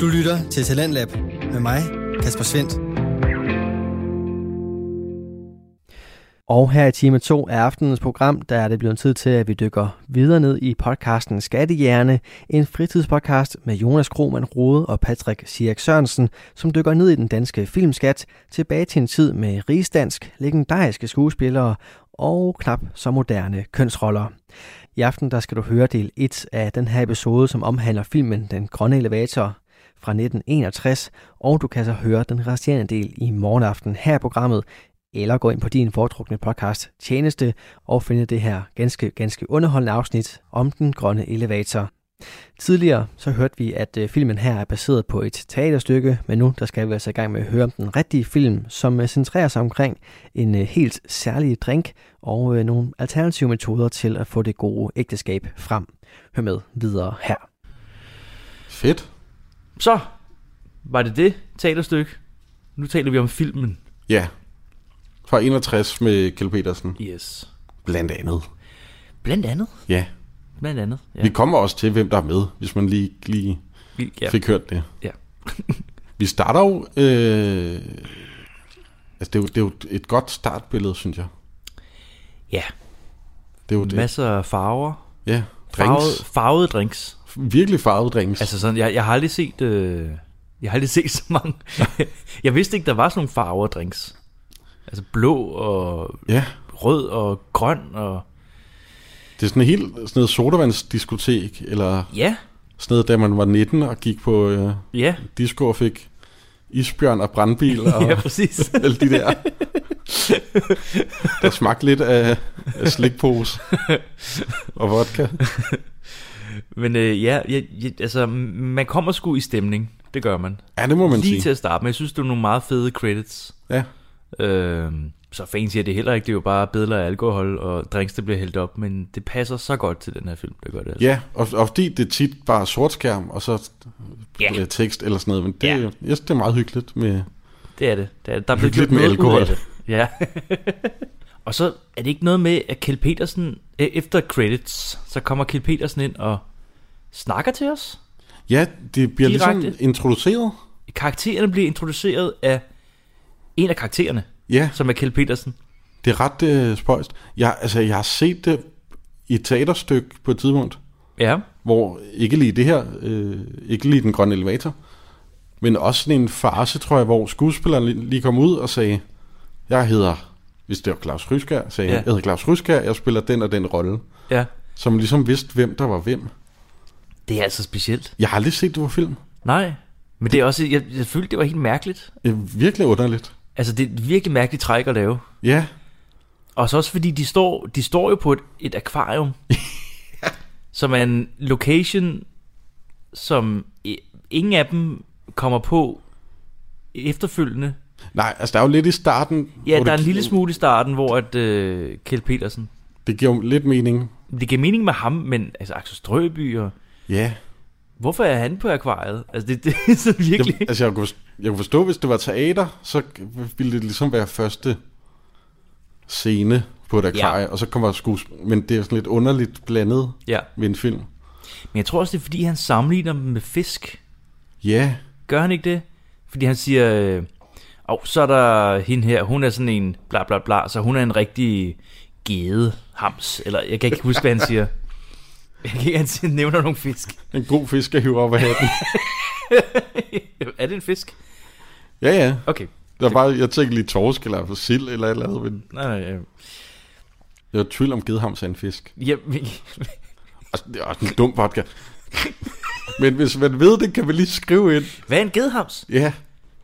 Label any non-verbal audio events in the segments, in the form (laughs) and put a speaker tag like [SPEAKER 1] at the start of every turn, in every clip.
[SPEAKER 1] Du lytter til Talentlab med mig, Kasper Svendt. Og her i time 2 af aftenens program, der er det blevet tid til, at vi dykker videre ned i podcasten Skattehjerne, en fritidspodcast med Jonas Krohmann Rode og Patrick Sierk Sørensen, som dykker ned i den danske filmskat tilbage til en tid med rigsdansk, legendariske skuespillere og knap så moderne kønsroller. I aften der skal du høre del 1 af den her episode, som omhandler filmen Den Grønne Elevator fra 1961, og du kan så høre den resterende del i morgenaften her i programmet, eller gå ind på din foretrukne podcast tjeneste og finde det her ganske, ganske underholdende afsnit om Den Grønne Elevator. Tidligere så hørte vi, at øh, filmen her er baseret på et teaterstykke, men nu der skal vi altså i gang med at høre om den rigtige film, som øh, centrerer sig omkring en øh, helt særlig drink og øh, nogle alternative metoder til at få det gode ægteskab frem. Hør med videre her.
[SPEAKER 2] Fedt.
[SPEAKER 3] Så var det det teaterstykke. Nu taler vi om filmen.
[SPEAKER 2] Ja. Fra 61 med Kjell Petersen.
[SPEAKER 3] Yes.
[SPEAKER 2] Blandt andet.
[SPEAKER 3] Blandt andet.
[SPEAKER 2] Ja.
[SPEAKER 3] Blandt andet. Ja.
[SPEAKER 2] Vi kommer også til, hvem der er med, hvis man lige, lige
[SPEAKER 3] Vi- ja.
[SPEAKER 2] ja. fik hørt det.
[SPEAKER 3] Ja.
[SPEAKER 2] (laughs) Vi starter jo... Øh, altså, det er jo, det er jo et godt startbillede, synes jeg.
[SPEAKER 3] ja.
[SPEAKER 2] Det er jo det.
[SPEAKER 3] Masser af farver.
[SPEAKER 2] ja.
[SPEAKER 3] Farvede,
[SPEAKER 2] Drinks.
[SPEAKER 3] farvede drinks.
[SPEAKER 2] Farved. Virkelig farvede drinks. Altså,
[SPEAKER 3] Altså sådan, jeg, jeg har aldrig set... Øh, jeg har aldrig set så mange. (laughs) jeg vidste ikke, der var sådan nogle farver drinks. Altså blå og
[SPEAKER 2] ja.
[SPEAKER 3] rød og grøn og...
[SPEAKER 2] Det er sådan en helt sådan noget sodavandsdiskotek, eller
[SPEAKER 3] Ja,
[SPEAKER 2] sådan noget, da man var 19 og gik på øh,
[SPEAKER 3] ja.
[SPEAKER 2] disco og fik isbjørn og brandbil og
[SPEAKER 3] (laughs) Ja, præcis.
[SPEAKER 2] alle de der. Der smagte lidt af, af slikpose og vodka.
[SPEAKER 3] Men øh, ja, jeg, jeg, altså, man kommer sgu i stemning. Det gør man.
[SPEAKER 2] Ja, det må man
[SPEAKER 3] Lige til
[SPEAKER 2] sige.
[SPEAKER 3] at starte med. Jeg synes, det er nogle meget fede credits.
[SPEAKER 2] Ja.
[SPEAKER 3] Øh, så fancy er det heller ikke. Det er jo bare billeder af alkohol og drinks, der bliver hældt op. Men det passer så godt til den her film, der gør det. Altså.
[SPEAKER 2] ja, og, og fordi det tit bare er sort skærm, og så
[SPEAKER 3] Ja.
[SPEAKER 2] ja. tekst eller sådan noget, men det,
[SPEAKER 3] Ja.
[SPEAKER 2] ja. jeg synes, det er meget hyggeligt med...
[SPEAKER 3] Det er det. det, er det. Der er blevet
[SPEAKER 2] Hyggeligt
[SPEAKER 3] gjort noget
[SPEAKER 2] med
[SPEAKER 3] Ud af
[SPEAKER 2] alkohol.
[SPEAKER 3] det. Ja. (laughs) og så er det ikke noget med, at Kjell Petersen, øh, efter credits, så kommer Kjell Petersen ind og snakker til os.
[SPEAKER 2] Ja, det bliver Direkte.
[SPEAKER 3] Direkte.
[SPEAKER 2] ligesom introduceret.
[SPEAKER 3] Karaktererne bliver introduceret af en af karaktererne,
[SPEAKER 2] Ja,
[SPEAKER 3] som er Kjell Petersen.
[SPEAKER 2] det er ret øh, spøjst. Jeg, altså, jeg har set det i et teaterstykke på et tidspunkt,
[SPEAKER 3] Ja.
[SPEAKER 2] hvor ikke lige det her, øh, ikke lige den grønne elevator, men også sådan en farse, tror jeg, hvor skuespilleren lige- lige kom ud og sagde, jeg hedder, hvis det var Claus Ryskær, sagde
[SPEAKER 3] Ja.
[SPEAKER 2] ja. jeg hedder Claus Ryskær, jeg spiller den og den rolle,
[SPEAKER 3] Ja.
[SPEAKER 2] som ligesom vidste, hvem der var hvem.
[SPEAKER 3] Det er altså specielt.
[SPEAKER 2] Jeg har aldrig set det på film.
[SPEAKER 3] Nej. Men det er også, jeg, jeg følte, det var helt mærkeligt.
[SPEAKER 2] Det er virkelig underligt.
[SPEAKER 3] Altså, det er et virkelig mærkeligt træk at lave.
[SPEAKER 2] Ja,
[SPEAKER 3] Og så også fordi, de står, de står jo på et, et
[SPEAKER 2] (laughs)
[SPEAKER 3] akvarium, som er en location, som i- ingen af dem kommer på efterfølgende.
[SPEAKER 2] nej, altså der er jo lidt i starten.
[SPEAKER 3] Ja,
[SPEAKER 2] hvor
[SPEAKER 3] der er en
[SPEAKER 2] det-
[SPEAKER 3] lille smule i starten, hvor at, øh, Kjeld Petersen...
[SPEAKER 2] Det giver jo lidt mening.
[SPEAKER 3] Det giver mening med ham, men altså Axel Strøby og...
[SPEAKER 2] Ja,
[SPEAKER 3] Hvorfor er han på akvariet? Altså, det, (laughs) det er sådan virkelig...
[SPEAKER 2] jeg, altså jeg kunne, forst- jeg kunne forstå, hvis det var teater, så ville det ligesom være første scene på et akvarie, ja. og så kommer skuespil. Men det er sådan lidt underligt blandet
[SPEAKER 3] Ja.
[SPEAKER 2] med en film.
[SPEAKER 3] Men jeg tror også, det er, fordi han sammenligner dem med fisk.
[SPEAKER 2] Ja,
[SPEAKER 3] Gør han ikke det? Fordi han siger, øh, og så er der hende her, hun er sådan en bla bla bla, så hun er en rigtig gede hams, eller jeg kan ikke huske, hvad han siger. Jeg kan ikke, han (laughs) siger, nævner nogle fisk.
[SPEAKER 2] en god fisk at hive op af hatten.
[SPEAKER 3] er det en fisk?
[SPEAKER 2] ja, ja.
[SPEAKER 3] Okay.
[SPEAKER 2] Der var, jeg tænkte lige torsk eller sild eller et eller andet, men
[SPEAKER 3] Nej, nej, øh,
[SPEAKER 2] jeg var i tvivl om gedhams er en fisk.
[SPEAKER 3] ja, men-
[SPEAKER 2] Og det er også en dum podcast. men hvis man ved det, kan vi lige skrive ind.
[SPEAKER 3] hvad er en gedehams?
[SPEAKER 2] Ja,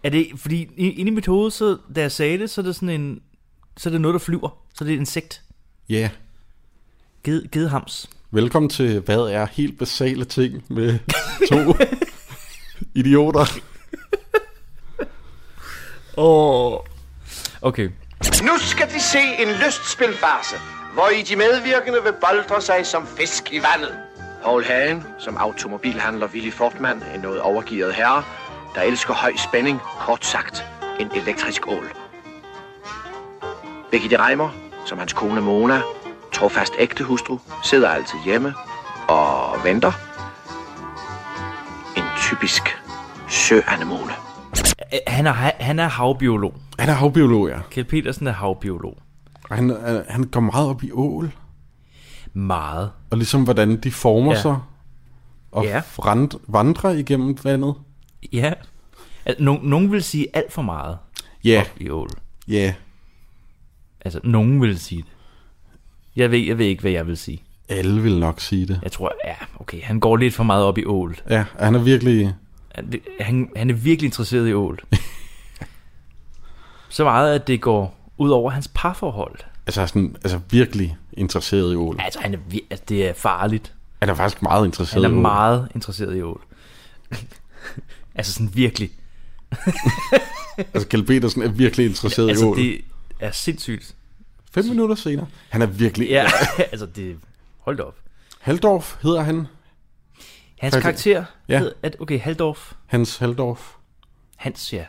[SPEAKER 3] Er det, fordi i- inde i mit hoved, så, da jeg sagde det, så er det sådan en, så er det noget, der flyver. Så er det et insekt.
[SPEAKER 2] ja.
[SPEAKER 3] Ged, gedehams.
[SPEAKER 2] Velkommen til, hvad er helt basale ting med to idioter.
[SPEAKER 3] Åh. Oh. Okay.
[SPEAKER 4] Nu skal de se en lystspilfarse, hvor i de medvirkende vil boldre sig som fisk i vandet. Paul Hagen, som automobilhandler Willy Fortmann, en noget overgivet herre, der elsker høj spænding, kort sagt en elektrisk ål. Birgitte Reimer, som hans kone Mona, trofast ægte hustru, sidder altid hjemme og venter. En typisk søanemone.
[SPEAKER 3] Han er, han er havbiolog.
[SPEAKER 2] Han er havbiolog, ja.
[SPEAKER 3] Kjeld Petersen er havbiolog.
[SPEAKER 2] Og han, han- han går meget op i ål,
[SPEAKER 3] Meget.
[SPEAKER 2] og ligesom hvordan de former
[SPEAKER 3] Ja.
[SPEAKER 2] sig, og
[SPEAKER 3] Ja.
[SPEAKER 2] rand, vandrer igennem vandet.
[SPEAKER 3] Ja. Altså, no, nogen vil sige alt for meget
[SPEAKER 2] Ja,
[SPEAKER 3] i ål.
[SPEAKER 2] ja.
[SPEAKER 3] Altså, nogen vil sige det. Jeg ved, jeg ved ikke, hvad jeg vil sige.
[SPEAKER 2] Alle vil nok sige det.
[SPEAKER 3] Jeg tror, ja, okay, han går lidt for meget op i ål.
[SPEAKER 2] Ja, og han er virkelig...
[SPEAKER 3] Han, han, han er virkelig interesseret i
[SPEAKER 2] (laughs)
[SPEAKER 3] ål. Så meget, at det går ud over hans parforhold.
[SPEAKER 2] Altså, sådan, altså virkelig interesseret i ål.
[SPEAKER 3] Altså, han er, vir- altså det er farligt.
[SPEAKER 2] Han er faktisk meget interesseret
[SPEAKER 3] Han er
[SPEAKER 2] i ål.
[SPEAKER 3] meget interesseret i ål. altså sådan virkelig.
[SPEAKER 2] Altså, Kjeld Petersen er virkelig interesseret i
[SPEAKER 3] Altså
[SPEAKER 2] ål.
[SPEAKER 3] det er sindssygt.
[SPEAKER 2] Fem minutter senere. Han er virkelig...
[SPEAKER 3] Ja, (laughs) altså det... Hold da op.
[SPEAKER 2] Haldorf hedder han.
[SPEAKER 3] Hans
[SPEAKER 2] Okay.
[SPEAKER 3] karakter
[SPEAKER 2] Ja.
[SPEAKER 3] hed, at, okay, Haldorf,
[SPEAKER 2] Hans Haldorf.
[SPEAKER 3] Hans, ja.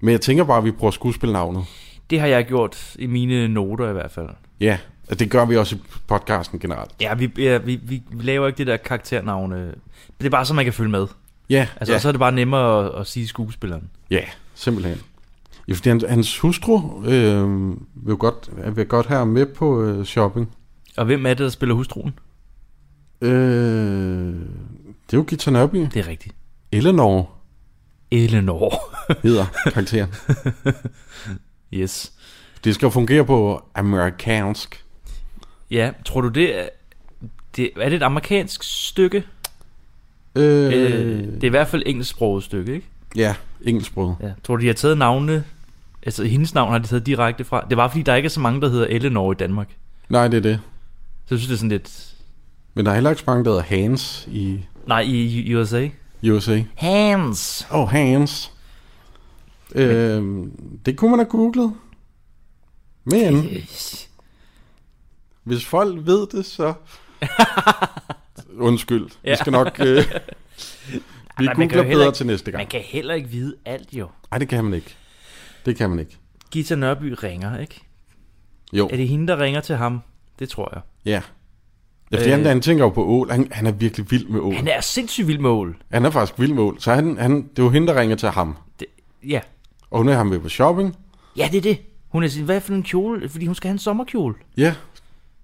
[SPEAKER 2] Men jeg tænker bare, at vi bruger skuespilnavnet.
[SPEAKER 3] Det har jeg gjort i mine noter i hvert fald.
[SPEAKER 2] Ja, og det gør vi også i podcasten generelt.
[SPEAKER 3] Ja, vi, ja, vi, vi vi laver ikke det der karakternavne. Det er bare så, man kan følge med.
[SPEAKER 2] Ja,
[SPEAKER 3] Altså,
[SPEAKER 2] ja,
[SPEAKER 3] ja. så er det bare nemmere at, at sige skuespilleren.
[SPEAKER 2] ja simpelthen. Ja, fordi hans, hans hustru øh, vil, godt, vil godt have ham med på øh, shopping.
[SPEAKER 3] Og hvem er det, der spiller hustruen?
[SPEAKER 2] Øh, det er jo Gita Nørby.
[SPEAKER 3] Det er rigtigt.
[SPEAKER 2] Eleanor
[SPEAKER 3] Eleanor. (laughs)
[SPEAKER 2] hedder karakteren.
[SPEAKER 3] yes.
[SPEAKER 2] det skal jo fungere på amerikansk.
[SPEAKER 3] Ja, tror du det er... Det, er det et amerikansk stykke?
[SPEAKER 2] Øh,
[SPEAKER 3] Øh,
[SPEAKER 2] øh,
[SPEAKER 3] det er i hvert fald engelsksproget stykke, ikke?
[SPEAKER 2] Ja, engelsksproget.
[SPEAKER 3] Ja. Tror du, de har taget navnene... Altså, hendes navn har de taget direkte fra. Det var, fordi der ikke er så mange, der hedder Eleanor i Danmark.
[SPEAKER 2] Nej, det er det.
[SPEAKER 3] Så jeg synes, det er sådan lidt...
[SPEAKER 2] Men der er heller ikke så mange, der hedder Hans i
[SPEAKER 3] Nej, i i USA.
[SPEAKER 2] USA.
[SPEAKER 3] Hands.
[SPEAKER 2] Åh, oh, Hans. Øh, det kunne man have googlet. Men hvis folk ved det, så... (laughs) Undskyld. Ja. Vi skal
[SPEAKER 3] (laughs)
[SPEAKER 2] nok... Øh, vi
[SPEAKER 3] man kan jo
[SPEAKER 2] googler
[SPEAKER 3] heller
[SPEAKER 2] bedre
[SPEAKER 3] ikke-
[SPEAKER 2] til næste
[SPEAKER 3] Man
[SPEAKER 2] gang.
[SPEAKER 3] kan heller ikke vide alt, jo.
[SPEAKER 2] Nej, det kan man ikke. Det kan man ikke.
[SPEAKER 3] Gita Nørby ringer, ikke?
[SPEAKER 2] Jo,
[SPEAKER 3] Er det hende, der ringer til ham? Det tror jeg.
[SPEAKER 2] ja. Ja, fordi han,
[SPEAKER 3] Øh.
[SPEAKER 2] han tænker jo på ål. Han, han er virkelig vild med ål.
[SPEAKER 3] Han er sindssygt vild med ål.
[SPEAKER 2] Han er faktisk vild med ål. Så han, han, det er jo hende, der ringer til ham.
[SPEAKER 3] Det, ja.
[SPEAKER 2] Og hun er ham med på shopping.
[SPEAKER 3] ja, det er det. Hun er sådan, hvad for en kjole? Fordi hun skal have en sommerkjole.
[SPEAKER 2] Ja,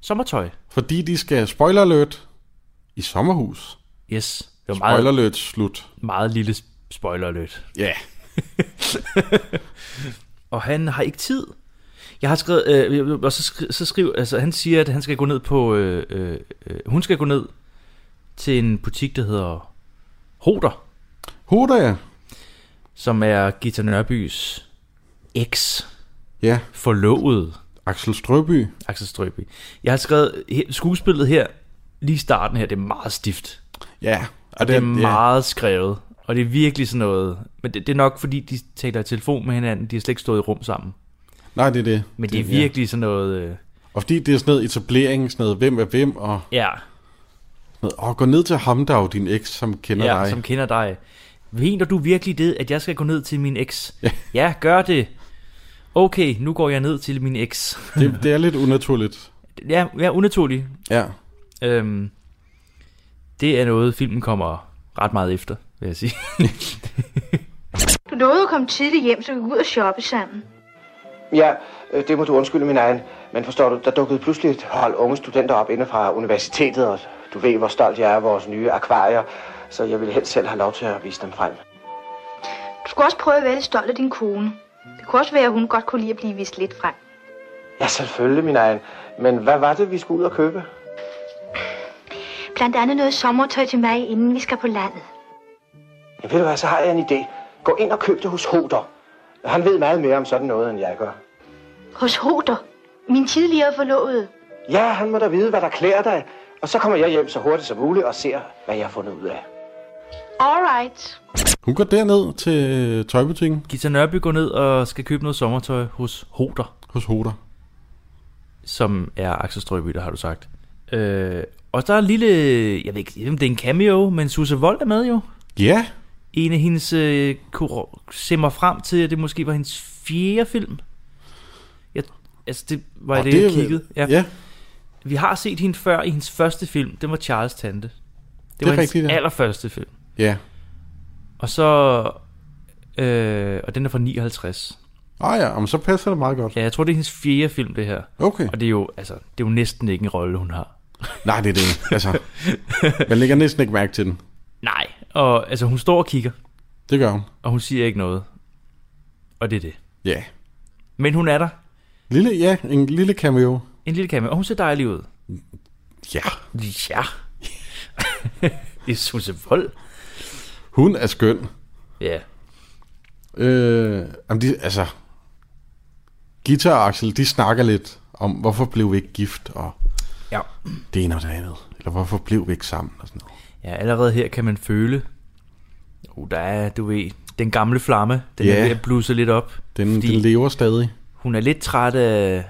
[SPEAKER 3] Sommertøj.
[SPEAKER 2] fordi de skal, spoiler alert, i sommerhus.
[SPEAKER 3] Yes. Det var
[SPEAKER 2] Spoiler
[SPEAKER 3] meget,
[SPEAKER 2] alert, slut.
[SPEAKER 3] meget lille spoiler alert.
[SPEAKER 2] Ja. Yeah.
[SPEAKER 3] Og han har ikke tid. Jeg har skrevet, øh, og så, skri, så skriver, altså han siger, at han skal gå ned på, øh, øh, øh, hun skal gå ned til en butik, der hedder Hoder,
[SPEAKER 2] Hoda, ja.
[SPEAKER 3] som er Gita Nørbys eks
[SPEAKER 2] Ja,
[SPEAKER 3] forlovede
[SPEAKER 2] Axel Strøby.
[SPEAKER 3] Axel Strøby. Jeg har skrevet he- skuespillet her, lige i starten her, det er meget stift.
[SPEAKER 2] Ja,
[SPEAKER 3] Og det, det er meget skrevet. Og det er virkelig sådan noget. Men det, det er nok, fordi de taler i telefon med hinanden. De har slet ikke stået i rum sammen.
[SPEAKER 2] Ja. Nej, det er det.
[SPEAKER 3] Men det, det er
[SPEAKER 2] ja.
[SPEAKER 3] virkelig sådan noget... Øh,
[SPEAKER 2] Og fordi det er sådan noget etablering, sådan noget, hvem er hvem, og,
[SPEAKER 3] ja,
[SPEAKER 2] sådan noget, og gå ned til ham, der er jo din eks, som kender
[SPEAKER 3] ja
[SPEAKER 2] dig.
[SPEAKER 3] som kender dig. Mener du virkelig det, at jeg skal gå ned til min eks? Ja. ja, gør det. Okay, nu går jeg ned til min eks.
[SPEAKER 2] Det, det er lidt unaturligt.
[SPEAKER 3] Ja, ja unaturligt.
[SPEAKER 2] Ja,
[SPEAKER 3] Øhm, det er noget, filmen kommer ret meget efter, vil jeg sige. (laughs)
[SPEAKER 5] Du lovede at komme tidligt hjem, så vi kunne ud og shoppe sammen.
[SPEAKER 4] Ja, øh, det må du undskylde min egen. Men forstår du, der dukkede pludselig et hold unge studenter op inde fra universitetet, og du ved, hvor stolt jeg er af vores nye akvarier, så jeg ville helst selv have lov til at vise dem frem.
[SPEAKER 5] Du skulle også prøve at være lidt stolt af din kone. Det kunne også være, at hun godt kunne lide at blive vist lidt frem.
[SPEAKER 4] Ja, selvfølgelig, min egen. Men hvad var det, vi skulle ud og købe?
[SPEAKER 5] Blandt andet noget sommertøj til mig, inden vi skal på landet.
[SPEAKER 4] Ja, ved du hvad, så har jeg en idé. Gå ind og køb det hos Hoder. Han ved meget mere om sådan noget, end jeg gør.
[SPEAKER 5] Hos Hoder. Min tidligere forlovede.
[SPEAKER 4] Ja, han må da vide, hvad der klæder dig. Og så kommer jeg hjem så hurtigt som muligt og ser, hvad jeg har fundet ud af.
[SPEAKER 5] Alright.
[SPEAKER 2] hun går derned til øh, tøjbutikken
[SPEAKER 3] Gita Nørby går ned og skal købe noget sommertøj hos Hoder.
[SPEAKER 2] hos Hoda.
[SPEAKER 3] som er Axel Strøby, der har du sagt. Øh, og der er en lille, jeg ved ikke, om det er en cameo, men Susse Vold er med jo.
[SPEAKER 2] Ja,
[SPEAKER 3] En af hendes, øh, kur- simmer frem til, at det måske var hendes fjerde film. Jeg, altså, det var
[SPEAKER 2] og
[SPEAKER 3] det, det, jeg
[SPEAKER 2] er vel-
[SPEAKER 3] kiggede. Ja.
[SPEAKER 2] Ja.
[SPEAKER 3] Ja.
[SPEAKER 2] ja,
[SPEAKER 3] Vi har set hende før i hendes første film, den var Charles Tante. Det, det var hendes
[SPEAKER 2] rigtigt, ja.
[SPEAKER 3] allerførste film.
[SPEAKER 2] ja.
[SPEAKER 3] Og så Øh, og den er fra 59.
[SPEAKER 2] Ah ja, men så passer det meget godt.
[SPEAKER 3] Ja, jeg tror, det er hendes fjerde film, det her.
[SPEAKER 2] Okay.
[SPEAKER 3] Og det er jo, altså, det er jo næsten ikke en rolle, hun har.
[SPEAKER 2] Nej, det er det. Altså, man lægger næsten ikke mærke til den.
[SPEAKER 3] Nej, og altså, hun står og kigger,
[SPEAKER 2] Det gør hun.
[SPEAKER 3] og hun siger ikke noget. Og det er det.
[SPEAKER 2] Ja.
[SPEAKER 3] Men hun er der.
[SPEAKER 2] Lille, ja, en lille cameo.
[SPEAKER 3] En lille kamera, og hun ser dejlig ud.
[SPEAKER 2] Ja.
[SPEAKER 3] (laughs) Ja. det er hun ser vold.
[SPEAKER 2] Hun er skøn.
[SPEAKER 3] Ja.
[SPEAKER 2] Øh, jamen de, altså, Gita og Axel, de snakker lidt om, hvorfor blev vi ikke gift, og
[SPEAKER 3] Ja.
[SPEAKER 2] det ene og det andet. Eller hvorfor blev vi ikke sammen, og sådan noget.
[SPEAKER 3] Ja, allerede her kan man føle, oh, der er, du ved, den gamle flamme, den
[SPEAKER 2] Ja.
[SPEAKER 3] er ved at blusse lidt op.
[SPEAKER 2] Den,
[SPEAKER 3] Fordi-
[SPEAKER 2] Fordi... den lever stadig.
[SPEAKER 3] Hun er lidt træt af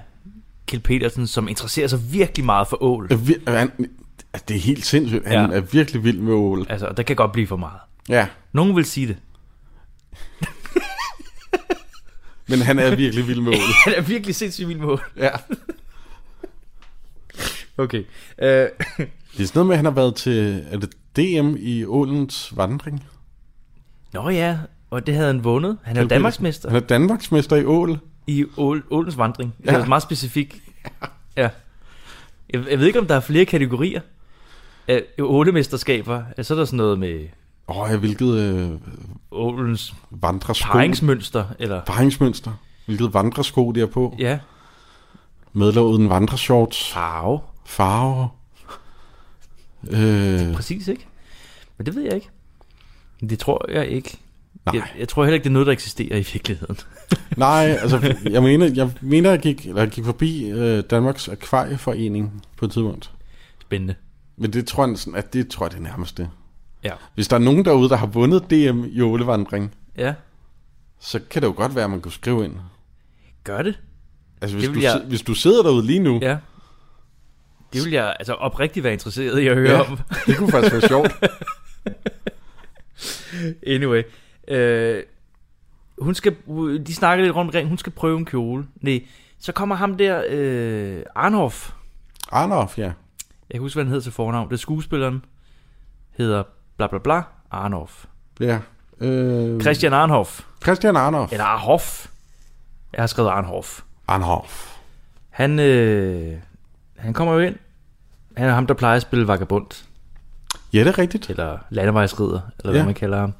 [SPEAKER 3] Kjeld Petersen, som interesserer sig virkelig meget for ål.
[SPEAKER 2] Er vi- er Han, altså, det er helt sindssygt. Han
[SPEAKER 3] Ja.
[SPEAKER 2] ja. er virkelig vild med ål.
[SPEAKER 3] Altså, og der kan godt blive for meget.
[SPEAKER 2] Ja,
[SPEAKER 3] Nogen vil sige det. (laughs)
[SPEAKER 2] men han er virkelig vild med ål.
[SPEAKER 3] Han er virkelig sindssygt vild med ål.
[SPEAKER 2] Ja.
[SPEAKER 3] Okay. Øh,
[SPEAKER 2] Det er sådan noget med, at han har været til er det DM i ålens vandring.
[SPEAKER 3] Nå ja, og det havde han vundet. Han er jo
[SPEAKER 2] Kjeld
[SPEAKER 3] Danmarksmester
[SPEAKER 2] Han er Danmarksmester i ål.
[SPEAKER 3] i ål, ålens vandring. Det
[SPEAKER 2] Ja.
[SPEAKER 3] er altså meget specifikt. Ja. Jeg, jeg ved ikke, om der er flere kategorier. Øh, ålemesterskaber. Øh, Så er der sådan noget med
[SPEAKER 2] Åh, oh, hvilket øh,
[SPEAKER 3] ålens
[SPEAKER 2] vandresko...
[SPEAKER 3] paringsmønster, eller...
[SPEAKER 2] Paringsmønster. Hvilket vandresko de er på. Ja.
[SPEAKER 3] Ja.
[SPEAKER 2] Medlåden vandreshorts.
[SPEAKER 3] Farve.
[SPEAKER 2] farver. Øh,
[SPEAKER 3] Præcis, ikke? Men det ved jeg ikke. Det tror jeg ikke.
[SPEAKER 2] Nej.
[SPEAKER 3] Jeg, jeg tror heller ikke, det er noget, der eksisterer i virkeligheden.
[SPEAKER 2] nej, altså, jeg mener, jeg mener, jeg gik, eller jeg gik forbi øh, Danmarks Akvarieforening på et tidspunkt.
[SPEAKER 3] Spændende.
[SPEAKER 2] Men det tror jeg, sådan, at det tror jeg, det er nærmeste.
[SPEAKER 3] Ja.
[SPEAKER 2] Hvis der er nogen derude, der har vundet DM i ålevandring,
[SPEAKER 3] Ja.
[SPEAKER 2] så kan det jo godt være, at man kunne skrive ind.
[SPEAKER 3] Gør det?
[SPEAKER 2] Altså, hvis,
[SPEAKER 3] Det vil
[SPEAKER 2] du,
[SPEAKER 3] jeg-
[SPEAKER 2] jeg... hvis du sidder derude lige nu,
[SPEAKER 3] Ja. Det vil jeg altså oprigtigt være interesseret i at høre
[SPEAKER 2] Ja.
[SPEAKER 3] om.
[SPEAKER 2] (laughs)
[SPEAKER 3] (laughs)
[SPEAKER 2] det kunne faktisk være sjovt.
[SPEAKER 3] Anyway. Øh, hun skal, de snakker lidt rundt omkring, hun skal prøve en kjole. Nej, så kommer ham der, øh, Arnhoff.
[SPEAKER 2] Arnoff, ja.
[SPEAKER 3] Jeg kan huske, hvad han hed til fornavn. Det er skuespilleren. Hedder bla bla bla Arnhoff.
[SPEAKER 2] ja. Øh,
[SPEAKER 3] Christian Arnhoff.
[SPEAKER 2] Christian Arnoff.
[SPEAKER 3] Eller Arhoff. Jeg har skrevet Arnhoff.
[SPEAKER 2] Arnoff.
[SPEAKER 3] Han, øh, han kommer jo ind. Han er ham, der plejer at spille vagabond.
[SPEAKER 2] Ja, det er rigtigt.
[SPEAKER 3] Eller landevejsrider, eller hvad
[SPEAKER 2] Ja.
[SPEAKER 3] man kalder ham.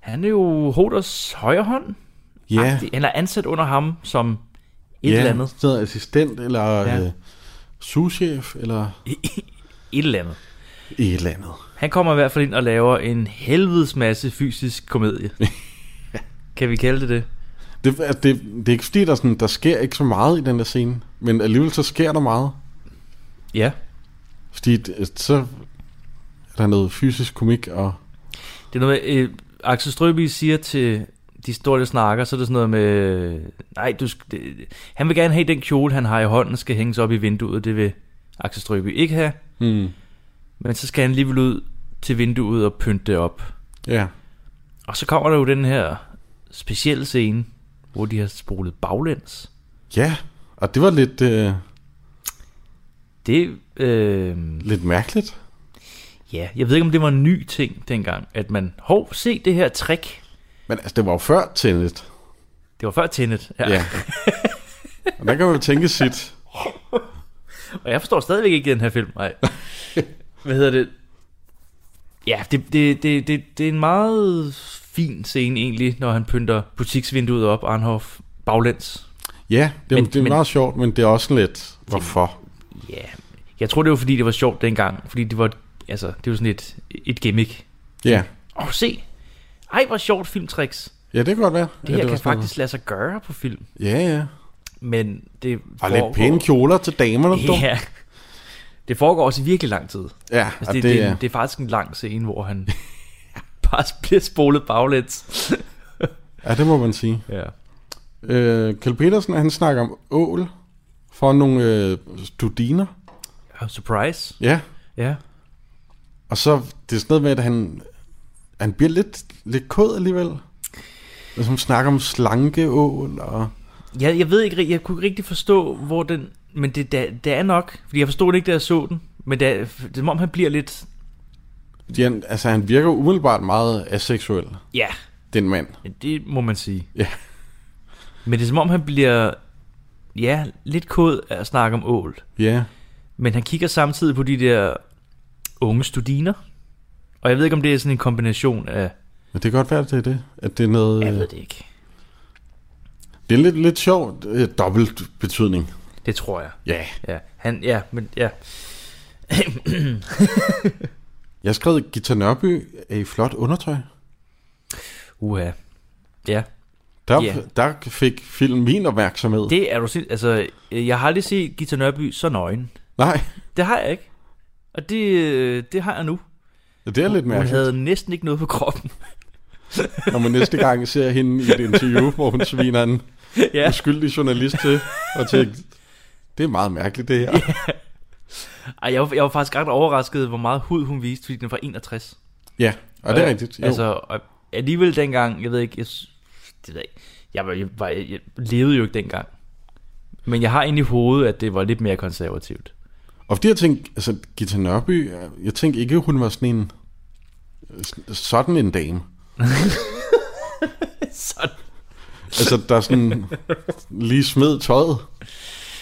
[SPEAKER 3] Han er jo Hoders højre hånd.
[SPEAKER 2] Ja,
[SPEAKER 3] agtig. Han er ansat under ham som et
[SPEAKER 2] ja.
[SPEAKER 3] eller andet.
[SPEAKER 2] Sådan noget assistent, eller
[SPEAKER 3] Ja.
[SPEAKER 2] ja. øh, souschef, eller
[SPEAKER 3] Et eller andet.
[SPEAKER 2] et eller andet.
[SPEAKER 3] Han kommer i hvert fald ind og laver en helvedes masse fysisk
[SPEAKER 2] (laughs)
[SPEAKER 3] komedie. kan vi kalde det det?
[SPEAKER 2] Det, altså, det, det er ikke fordi, der, er sådan, der sker ikke så meget i den der scene, men alligevel så sker der meget.
[SPEAKER 3] Ja.
[SPEAKER 2] Fordi det, så er der noget fysisk komik, og
[SPEAKER 3] Det er noget med, øh, Axel Strøby siger til de store, der snakker, så er det sådan noget med, øh, nej, du sk- det, han vil gerne have den kjole, han har i hånden, skal hænges op i vinduet, det vil Axel Strøby ikke have,
[SPEAKER 2] hmm,
[SPEAKER 3] men så skal han alligevel ud til vinduet og pynte det op.
[SPEAKER 2] ja,
[SPEAKER 3] Og så kommer der jo den her specielle scene, hvor de har spolet baglæns.
[SPEAKER 2] ja, og det var lidt, øh,
[SPEAKER 3] Det, øh,
[SPEAKER 2] lidt mærkeligt.
[SPEAKER 3] ja, jeg ved ikke, om det var en ny ting dengang, at man, hov, se det her trick.
[SPEAKER 2] Men altså, det var jo før Tenet.
[SPEAKER 3] Det var før Tenet. Ja.
[SPEAKER 2] Ja.
[SPEAKER 3] ja.
[SPEAKER 2] ja. og der kan man jo tænke sit.
[SPEAKER 3] Og jeg forstår stadigvæk ikke den her film. (laughs) Nej. Hvad hedder det? Ja, det, det, det, det, det er en meget fin scene egentlig, når han pynter butiksvinduet op, Arnhoff, baglæns.
[SPEAKER 2] Ja, det, er-
[SPEAKER 3] Men-
[SPEAKER 2] det er
[SPEAKER 3] men-
[SPEAKER 2] meget sjovt, men det er også sådan lidt, hvorfor?
[SPEAKER 3] Ja, jeg tror det var fordi, det var sjovt dengang, fordi det var, altså, det var sådan et, et gimmick.
[SPEAKER 2] Ja,
[SPEAKER 3] Åh, oh, se! Ej, hvor sjovt filmtricks.
[SPEAKER 2] ja det kan godt være.
[SPEAKER 3] Det her
[SPEAKER 2] ja,
[SPEAKER 3] ja,
[SPEAKER 2] var
[SPEAKER 3] kan
[SPEAKER 2] sådan noget.
[SPEAKER 3] faktisk lade sig gøre på film,
[SPEAKER 2] Ja, ja.
[SPEAKER 3] men det
[SPEAKER 2] Og lidt pæne kjoler til damerne. dog.
[SPEAKER 3] Ja. Det foregår også i virkelig lang tid.
[SPEAKER 2] ja
[SPEAKER 3] Altså,
[SPEAKER 2] og
[SPEAKER 3] det, det, det, er, en- det er faktisk en lang scene, hvor han (laughs) bare bliver spolet baglæns.
[SPEAKER 2] ja, det må man sige.
[SPEAKER 3] ja.
[SPEAKER 2] Øh, Kjell Petersen, han snakker om ål for nogle øh, studiner.
[SPEAKER 3] Surprise.
[SPEAKER 2] Ja,
[SPEAKER 3] Ja.
[SPEAKER 2] og så det er sådan noget med, at han, han bliver lidt, lidt kod alligevel. Og som snakker om slanke ål og...
[SPEAKER 3] Jeg, jeg ved ikke, ri- jeg kunne ikke rigtig forstå, hvor den... Men det, det, det er nok, fordi jeg forstod det ikke, da jeg så den. Men det er, det er som om, han bliver lidt...
[SPEAKER 2] Fordi han, altså, han virker umiddelbart meget aseksuel.
[SPEAKER 3] Ja,
[SPEAKER 2] den mand.
[SPEAKER 3] Men det må man sige.
[SPEAKER 2] Ja.
[SPEAKER 3] Men det er som om, han bliver, ja, lidt kod af at snakke om ål.
[SPEAKER 2] Ja,
[SPEAKER 3] Men han kigger samtidig på de der unge studiner. Og jeg ved ikke, om det er sådan en kombination af...
[SPEAKER 2] men det kan godt være, at det er det. At det er noget... øh,
[SPEAKER 3] Jeg ved det ikke.
[SPEAKER 2] Det er en lidt, lidt sjov øh, dobbelt betydning.
[SPEAKER 3] Det tror jeg.
[SPEAKER 2] Ja.
[SPEAKER 3] Ja, han, ja, men ja.
[SPEAKER 2] Jeg skrev, Gita Nørby er i flot undertøj.
[SPEAKER 3] Uha. Ja,
[SPEAKER 2] Der,
[SPEAKER 3] Ja.
[SPEAKER 2] der fik filmen min opmærksomhed. Det...
[SPEAKER 3] det er du sind... Altså, øh, jeg har aldrig set Gita Nørby så nøgen.
[SPEAKER 2] Nej,
[SPEAKER 3] Det har jeg ikke. Og det, øh, det har jeg nu.
[SPEAKER 2] det er lidt
[SPEAKER 3] Hun
[SPEAKER 2] mærkeligt.
[SPEAKER 3] havde næsten ikke noget på kroppen. (laughs)
[SPEAKER 2] Når man næste gang ser hende i et interview, hvor hun sviner en
[SPEAKER 3] ja.
[SPEAKER 2] uskyldig journalist til, og tænker, det er meget mærkeligt det her.
[SPEAKER 3] Ej, jeg, var, jeg var faktisk ret overrasket, hvor meget hud hun viste, fordi den var 61.
[SPEAKER 2] Ja, og det er rigtigt. Jo.
[SPEAKER 3] Altså, og alligevel dengang, jeg ved ikke, jeg, s- det ved jeg, ikke. jeg, var, jeg, var, jeg levede jo ikke dengang. Men jeg har inde i hovedet, at det var lidt mere konservativt.
[SPEAKER 2] Og fordi jeg tænkte, altså Gita Nørby, jeg tænkte ikke, hun var sådan en, sådan en dame.
[SPEAKER 3] (laughs) Sådan.
[SPEAKER 2] Altså, der sådan lige smed tøjet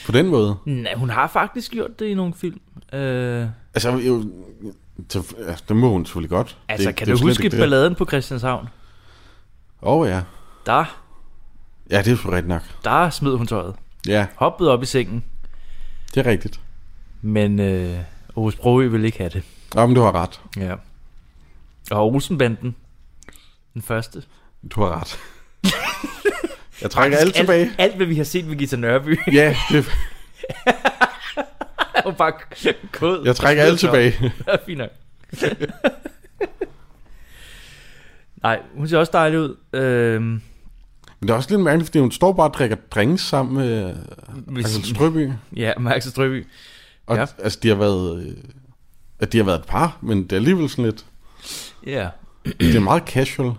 [SPEAKER 2] på den måde.
[SPEAKER 3] Nej, hun har faktisk gjort det i nogle film. Øh,
[SPEAKER 2] Altså, jo, det, altså, det må hun selvfølgelig godt.
[SPEAKER 3] altså,
[SPEAKER 2] det,
[SPEAKER 3] kan
[SPEAKER 2] det er jo
[SPEAKER 3] du
[SPEAKER 2] slet
[SPEAKER 3] huske
[SPEAKER 2] ikke det.
[SPEAKER 3] balladen på Christianshavn?
[SPEAKER 2] Åh oh, ja.
[SPEAKER 3] Der,
[SPEAKER 2] Ja, det er sgu rigtigt nok.
[SPEAKER 3] der smed hun tøjet.
[SPEAKER 2] Ja,
[SPEAKER 3] Hoppede op i sengen,
[SPEAKER 2] det er rigtigt.
[SPEAKER 3] men øh, Aarhus Broø ville ikke have det.
[SPEAKER 2] Nå, men du har ret.
[SPEAKER 3] Ja. Og Olsenbanden, den første.
[SPEAKER 2] Du har
[SPEAKER 3] (laughs)
[SPEAKER 2] ret. Jeg trækker alt tilbage.
[SPEAKER 3] Alt, alt, hvad vi har set med Gita Nørby, (laughs)
[SPEAKER 2] Ja, det,
[SPEAKER 3] er jo bare kod.
[SPEAKER 2] jeg trækker alt tilbage.
[SPEAKER 3] Ja, fint nok. (laughs) Nej, hun ser også dejlig ud. Øhm,
[SPEAKER 2] Men det er også lidt mærkeligt, fordi hun står bare og drikker drinks sammen med
[SPEAKER 3] Hvis-
[SPEAKER 2] Axel Strøby.
[SPEAKER 3] ja, Max og Strøby.
[SPEAKER 2] Og
[SPEAKER 3] Ja.
[SPEAKER 2] ja. altså, de har været... øh, At de har været et par, men det er alligevel sådan lidt...
[SPEAKER 3] Ja.
[SPEAKER 2] Det er meget casual.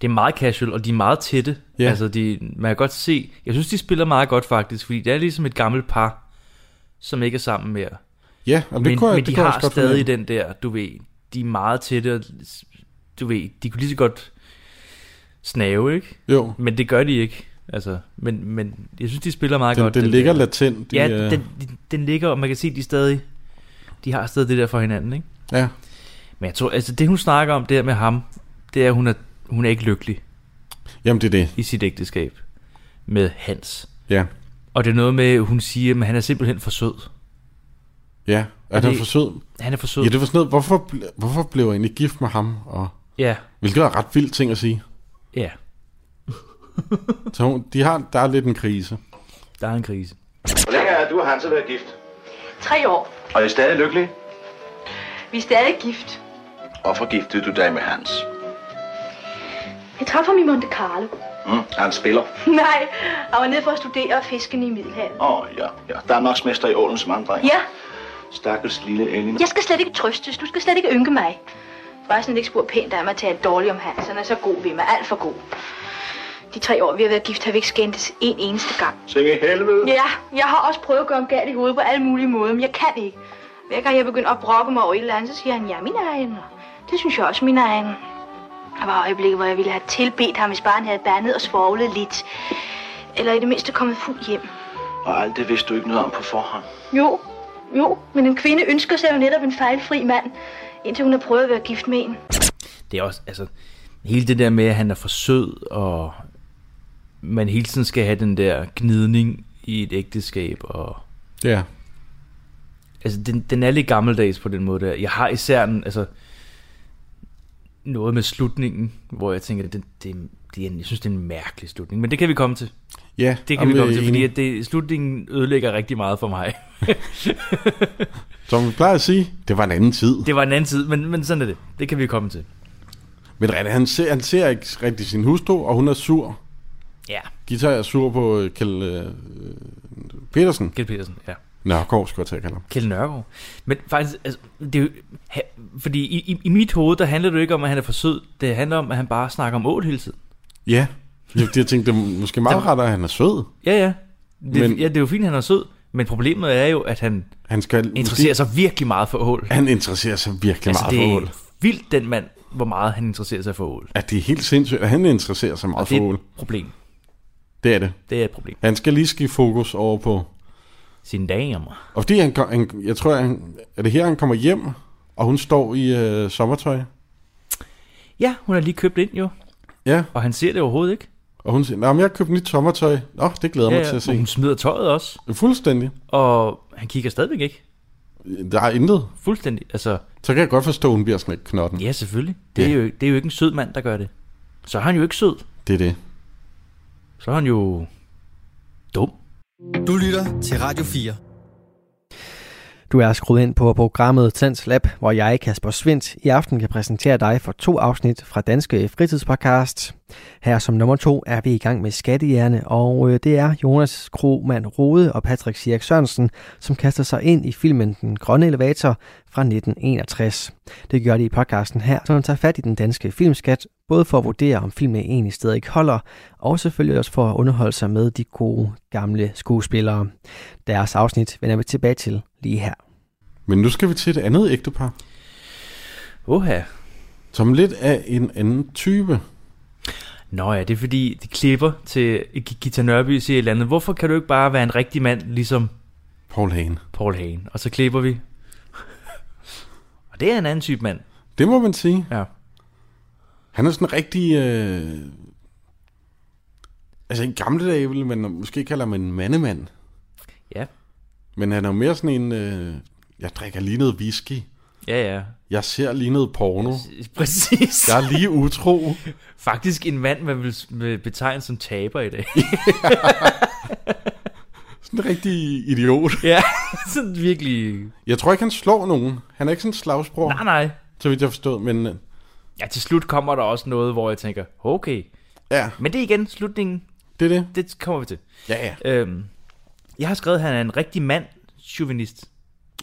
[SPEAKER 3] Det er meget casual, og de er meget tætte.
[SPEAKER 2] Ja.
[SPEAKER 3] Altså, de, man kan godt se... Jeg synes, de spiller meget godt, faktisk, fordi det er ligesom et gammelt par, som ikke er sammen mere.
[SPEAKER 2] Ja, jamen, det
[SPEAKER 3] men
[SPEAKER 2] kunne jeg,
[SPEAKER 3] men
[SPEAKER 2] det
[SPEAKER 3] de
[SPEAKER 2] kunne jeg
[SPEAKER 3] har
[SPEAKER 2] også godt
[SPEAKER 3] stadig
[SPEAKER 2] fornemme.
[SPEAKER 3] den der, du ved, de er meget tætte, og du ved, de kunne lige så godt snave, ikke?
[SPEAKER 2] Jo,
[SPEAKER 3] Men det gør de ikke. Altså, men, men jeg synes, de spiller meget
[SPEAKER 2] den,
[SPEAKER 3] godt.
[SPEAKER 2] den, ligger
[SPEAKER 3] der.
[SPEAKER 2] latent. i,
[SPEAKER 3] Ja,
[SPEAKER 2] øh,
[SPEAKER 3] den, den, den ligger, og man kan se, at de stadig de har stadig det der for hinanden, ikke?
[SPEAKER 2] ja.
[SPEAKER 3] Men jeg tror, altså det hun snakker om der med ham, det er, at hun er, hun er ikke lykkelig
[SPEAKER 2] Jamen, det er det.
[SPEAKER 3] i sit ægteskab med Hans.
[SPEAKER 2] Ja.
[SPEAKER 3] Og det er noget med, hun siger, at han er simpelthen for sød.
[SPEAKER 2] Ja, er, er
[SPEAKER 3] det-
[SPEAKER 2] det... for sød?
[SPEAKER 3] Han er for sød.
[SPEAKER 2] Ja, det var sådan noget, hvorfor, ble- hvorfor blev jeg egentlig gift med ham? Og,
[SPEAKER 3] ja,
[SPEAKER 2] hvilket er en ret vild ting at sige.
[SPEAKER 3] ja,
[SPEAKER 2] Så hun, de har, der er lidt en krise.
[SPEAKER 3] der er en krise.
[SPEAKER 4] Hvor længe har du og Hansa været gift?
[SPEAKER 5] Tre år.
[SPEAKER 4] Og er I stadig lykkelig?
[SPEAKER 5] Vi er stadig gift.
[SPEAKER 4] Og forgiftede du dig med Hans?
[SPEAKER 5] Jeg traf ham i Monte Carlo. (laughs)
[SPEAKER 4] Mm, han spiller.
[SPEAKER 5] Nej, han var nede for at studere fisken i Middelhavet.
[SPEAKER 4] Åh, oh, ja, ja. Danmarksmester i ålen som andre.
[SPEAKER 5] Ja,
[SPEAKER 4] Stakkels lille Elin.
[SPEAKER 5] jeg skal slet ikke trøstes. Du skal slet ikke ynke mig. Forresten er det ikke spurgt pænt af mig at tale dårligt om Hans. Han er så god ved mig. Alt for god. De tre år, vi har været gift, har vi ikke skændtes en eneste gang.
[SPEAKER 4] Sing i helvede.
[SPEAKER 5] Ja, jeg har også prøvet at gøre ham galt i hovedet på alle mulige måder, men jeg kan ikke. Hver gang jeg begynder at brokke mig over et eller andet, så siger han, ja, min egen. Og Det synes jeg også, min egen. Der var øjeblikke, hvor jeg ville have tilbedt ham, hvis bare han havde bandet og svoglet lidt. Eller i det mindste kommet fuld hjem.
[SPEAKER 4] Og alt det vidste du ikke noget om på forhånd.
[SPEAKER 5] Jo, jo, men en kvinde ønsker sig jo netop en fejlfri mand, indtil hun har prøvet at være gift med en.
[SPEAKER 3] Det er også, altså, hele det der med, at han er for sød, og man hele tiden skal have den der gnidning i et ægteskab, og
[SPEAKER 2] Ja.
[SPEAKER 3] Altså, den, den er lidt gammeldags på den måde der. Jeg har især en, altså, noget med slutningen, hvor jeg tænker, det, det, det er, en- jeg synes, det er en mærkelig slutning. Men det kan vi komme til.
[SPEAKER 2] Ja,
[SPEAKER 3] Det kan
[SPEAKER 2] jamen,
[SPEAKER 3] vi komme
[SPEAKER 2] øh,
[SPEAKER 3] til, fordi
[SPEAKER 2] enig.
[SPEAKER 3] at det, slutningen ødelægger rigtig meget for mig.
[SPEAKER 2] Som vi plejer at sige, det var en anden tid. Det...
[SPEAKER 3] Det var en anden tid, men, men sådan er det. Det kan vi komme til.
[SPEAKER 2] Men René, han ser, han ser ikke rigtig sin hustru, og hun er sur.
[SPEAKER 3] Ja.
[SPEAKER 2] Gita er sur på øh, Kjell øh, Petersen.
[SPEAKER 3] Kjeld Petersen, ja.
[SPEAKER 2] Nørgaard, skulle jeg til at kalde ham.
[SPEAKER 3] Kjeld Nørgaard. Men faktisk, altså, det er jo, ha, fordi i, i, i mit hoved, der handler det jo ikke om, at han er for sød. Det handler om, at han bare snakker om ål hele tiden.
[SPEAKER 2] Ja. Jeg, jeg tænkte, det er måske meget rart, at han er sød.
[SPEAKER 3] Ja, ja. Det, men,
[SPEAKER 2] Men-
[SPEAKER 3] ja, det er jo fint, han er sød. Men problemet er jo, at han
[SPEAKER 2] Han skal...
[SPEAKER 3] interesserer sig virkelig meget for ål.
[SPEAKER 2] Han interesserer sig virkelig
[SPEAKER 3] Altså,
[SPEAKER 2] meget
[SPEAKER 3] det
[SPEAKER 2] for
[SPEAKER 3] er
[SPEAKER 2] ål.
[SPEAKER 3] vildt, den mand hvor meget han interesserer sig for ål.
[SPEAKER 2] At det er helt sindssygt, at han interesserer sig meget
[SPEAKER 3] Og det
[SPEAKER 2] for
[SPEAKER 3] er
[SPEAKER 2] ål.
[SPEAKER 3] et problem.
[SPEAKER 2] Det er det.
[SPEAKER 3] Det er et problem.
[SPEAKER 2] Han skal lige skifte fokus over på...
[SPEAKER 3] Sine damer.
[SPEAKER 2] Og fordi han, kom- han jeg tror, han, er det her, han kommer hjem, og hun står i øh, sommertøj?
[SPEAKER 3] Ja, hun har lige købt ind jo,
[SPEAKER 2] Ja,
[SPEAKER 3] og han ser det overhovedet ikke.
[SPEAKER 2] og hun siger, nej, men jeg har købt nyt sommertøj. Nå, det glæder jeg
[SPEAKER 3] Ja,
[SPEAKER 2] mig til
[SPEAKER 3] ja.
[SPEAKER 2] at
[SPEAKER 3] og hun
[SPEAKER 2] se.
[SPEAKER 3] smider tøjet også,
[SPEAKER 2] Fuldstændig.
[SPEAKER 3] og han kigger stadigvæk ikke.
[SPEAKER 2] Der er intet.
[SPEAKER 3] Fuldstændig. Altså,
[SPEAKER 2] Så kan jeg godt forstå, at hun bliver sådan lidt knotten.
[SPEAKER 3] ja selvfølgelig. Det, er
[SPEAKER 2] Ja.
[SPEAKER 3] jo, det er jo ikke en sød mand, der gør det. Så er han jo ikke sød.
[SPEAKER 2] Det er det.
[SPEAKER 3] Så er han jo dum.
[SPEAKER 1] Du lytter til Radio 4. Du er skruet ind på programmet Tens Lab, hvor jeg, Kasper Svindt, i aften kan præsentere dig for to afsnit fra Danske Fritidspodcast. Her som nummer to er vi i gang med Skattehjerne, og øh, det er Jonas Krogman Rode og Patrick Sierk Sørensen, som kaster sig ind i filmen Den Grønne Elevator fra 1961. Det gør de i podcasten her, som tager fat i den danske filmskat, både for at vurdere, om filmen egentlig stadig holder, og selvfølgelig også for at underholde sig med de gode gamle skuespillere. Deres afsnit vender vi tilbage til lige her.
[SPEAKER 2] Men nu skal vi til et andet ægtepar,
[SPEAKER 3] Oha.
[SPEAKER 2] som lidt af en anden type.
[SPEAKER 3] Nå ja, det er fordi, de klipper til G- Gita Nørby siger et eller andet. Hvorfor kan du ikke bare være en rigtig mand, ligesom
[SPEAKER 2] Paul Hagen.
[SPEAKER 3] Paul Hagen? Og så klipper vi. og det er en anden type mand.
[SPEAKER 2] Det må man sige.
[SPEAKER 3] Ja.
[SPEAKER 2] Han er sådan rigtig... Øh... Altså i gamle dage ville man måske kalde ham en mandemand.
[SPEAKER 3] Ja,
[SPEAKER 2] Men han er jo mere sådan en... Øh... Jeg drikker lige noget whisky.
[SPEAKER 3] ja, ja.
[SPEAKER 2] Jeg ser lige noget porno.
[SPEAKER 3] (laughs) Præcis.
[SPEAKER 2] Jeg er lige utro.
[SPEAKER 3] Faktisk en mand, man vil s- vil betegne som taber i dag.
[SPEAKER 2] Sådan en rigtig idiot.
[SPEAKER 3] ja, (laughs) sådan virkelig...
[SPEAKER 2] Jeg tror ikke, han slår nogen. Han er ikke sådan en slagsbror,
[SPEAKER 3] Nej, nej.
[SPEAKER 2] så vidt jeg forstod. Men øh,
[SPEAKER 3] Ja, til slut kommer der også noget, hvor jeg tænker, okay.
[SPEAKER 2] ja,
[SPEAKER 3] Men det er igen slutningen.
[SPEAKER 2] det er det.
[SPEAKER 3] Det kommer vi til.
[SPEAKER 2] Ja, ja.
[SPEAKER 3] Øhm, jeg har skrevet, at han er en rigtig mand, chauvinist.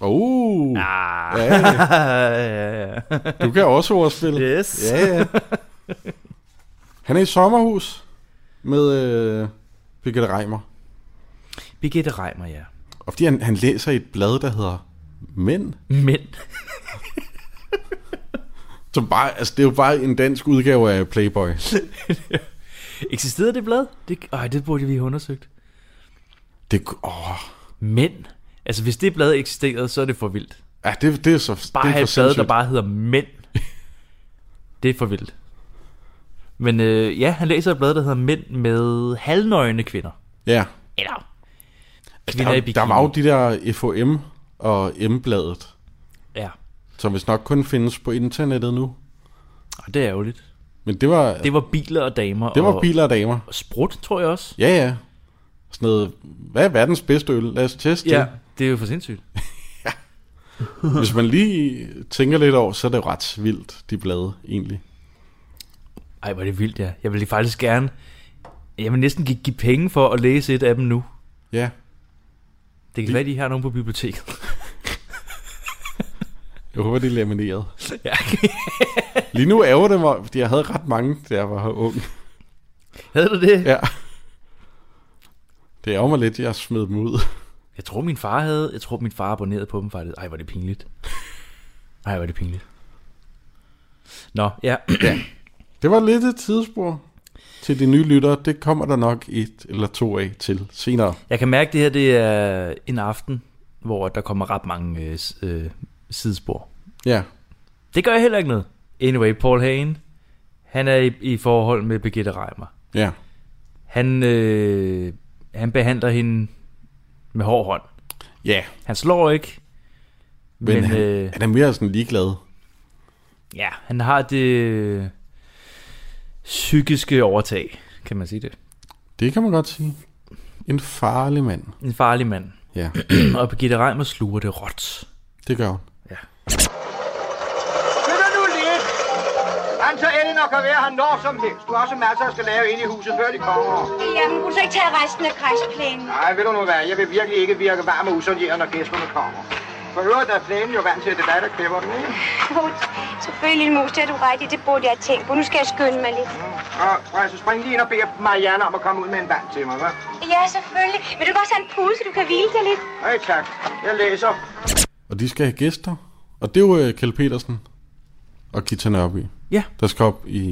[SPEAKER 2] Oh,
[SPEAKER 3] Ah. (laughs)
[SPEAKER 2] ja, ja.
[SPEAKER 3] ja, ja.
[SPEAKER 2] du kan også ordspille.
[SPEAKER 3] Yes.
[SPEAKER 2] Ja, ja. (laughs) Han er i sommerhus med øh, Birgitte Reimer.
[SPEAKER 3] Birgitte Reimer, ja.
[SPEAKER 2] Og fordi han, han læser i et blad, der hedder Mænd,
[SPEAKER 3] Men, (laughs)
[SPEAKER 2] som bare, altså det er jo bare en dansk udgave af (laughs) Playboy.
[SPEAKER 3] eksisterede det blad? Det, øj, det burde vi have undersøgt.
[SPEAKER 2] Det, ku- åh,
[SPEAKER 3] Men, altså hvis det blad eksisterede, så er det for vildt.
[SPEAKER 2] ja, det, det er så
[SPEAKER 3] Bare
[SPEAKER 2] det er
[SPEAKER 3] have et
[SPEAKER 2] for
[SPEAKER 3] blad, der
[SPEAKER 2] sindssygt.
[SPEAKER 3] bare hedder Mænd. (laughs) Det er for vildt. Men øh, ja, han læser et blad, der hedder Mænd med halvnøgne kvinder.
[SPEAKER 2] Ja,
[SPEAKER 3] Eller kvinder i
[SPEAKER 2] der,
[SPEAKER 3] bikini.
[SPEAKER 2] der var jo de der FOM og M-bladet,
[SPEAKER 3] Ja,
[SPEAKER 2] som vist nok kun findes på internettet nu.
[SPEAKER 3] og det er ærgerligt.
[SPEAKER 2] Men det var, det,
[SPEAKER 3] Det var biler og damer.
[SPEAKER 2] det var
[SPEAKER 3] og,
[SPEAKER 2] biler og damer.
[SPEAKER 3] Og sprut, tror jeg også.
[SPEAKER 2] Ja, ja. Sådan noget, hvad er verdens bedste øl? Lad os teste
[SPEAKER 3] Ja,
[SPEAKER 2] det.
[SPEAKER 3] det er jo for sindssygt.
[SPEAKER 2] Hvis man lige tænker lidt over, så er det jo ret vildt, de blade, egentlig.
[SPEAKER 3] Ej, hvor er det vildt, ja. Jeg vil faktisk gerne... Jeg vil næsten give, give penge for at læse et af dem nu.
[SPEAKER 2] Ja,
[SPEAKER 3] Det kan være, de har nogen på biblioteket.
[SPEAKER 2] jeg håber, det er lamineret.
[SPEAKER 3] (laughs) Ja.
[SPEAKER 2] Lige nu ærger det mig, fordi jeg havde ret mange, da jeg var ung.
[SPEAKER 3] (laughs) Havde du det? Ja.
[SPEAKER 2] Ja. Det ærger mig lidt, jeg smed dem ud.
[SPEAKER 3] Jeg tror, min far havde... Jeg tror, min far abonnerede på dem faktisk. Ej, var det pinligt. Ej, var det pinligt. Nå, ja.
[SPEAKER 2] Det var lidt et tidsspur til de nye lyttere. Det kommer der nok et eller to af til senere.
[SPEAKER 3] Jeg kan mærke, det her det er en aften, hvor der kommer ret mange øh, s- øh, sidespor.
[SPEAKER 2] Ja,
[SPEAKER 3] Det gør jeg heller ikke noget. Anyway, Paul Hagen, han er i, i forhold med Birgitte Reimer.
[SPEAKER 2] ja.
[SPEAKER 3] Han, øh, han behandler hende med hård hånd.
[SPEAKER 2] Ja,
[SPEAKER 3] Han slår ikke,
[SPEAKER 2] men,
[SPEAKER 3] men, men
[SPEAKER 2] han,
[SPEAKER 3] øh,
[SPEAKER 2] han er mere sådan ligeglad.
[SPEAKER 3] ja, han har det øh, psykiske overtag, kan man sige det.
[SPEAKER 2] Det kan man godt sige. En farlig mand.
[SPEAKER 3] En farlig mand. (clears throat)
[SPEAKER 2] Ja, (clears throat)
[SPEAKER 3] Og Birgitte Reimer sluger det råt.
[SPEAKER 2] det gør hun.
[SPEAKER 4] Flytter nu lidt! Antaellen og kan være her når som helst. Du har også masser, der skal lave inde i huset, før de kommer.
[SPEAKER 5] Jamen, kunne du så ikke tage resten af græsplænen?
[SPEAKER 4] Nej, ved du nu hvad, jeg vil virkelig ikke virke varm og usonjeret, når gæsterne kommer. For øvrigt er planen jo vant til, at det er dig, der klipper den, ikke?
[SPEAKER 5] Jo, selvfølgelig, Mus, det er du ret i. Det burde jeg tænke på. Nu skal jeg skynde mig lidt.
[SPEAKER 4] Og prøv at så spring lige ind og bed Marianne om at komme ud med en vand til mig, hva'?
[SPEAKER 5] Ja, selvfølgelig. Vil du godt have en pude, så du kan hvile dig lidt?
[SPEAKER 4] Hej, tak. Jeg læser.
[SPEAKER 2] Og de skal have gæster. Og det er jo øh, Kjeld Petersen og Gita Nørby.
[SPEAKER 3] Ja.
[SPEAKER 2] Der skal op i,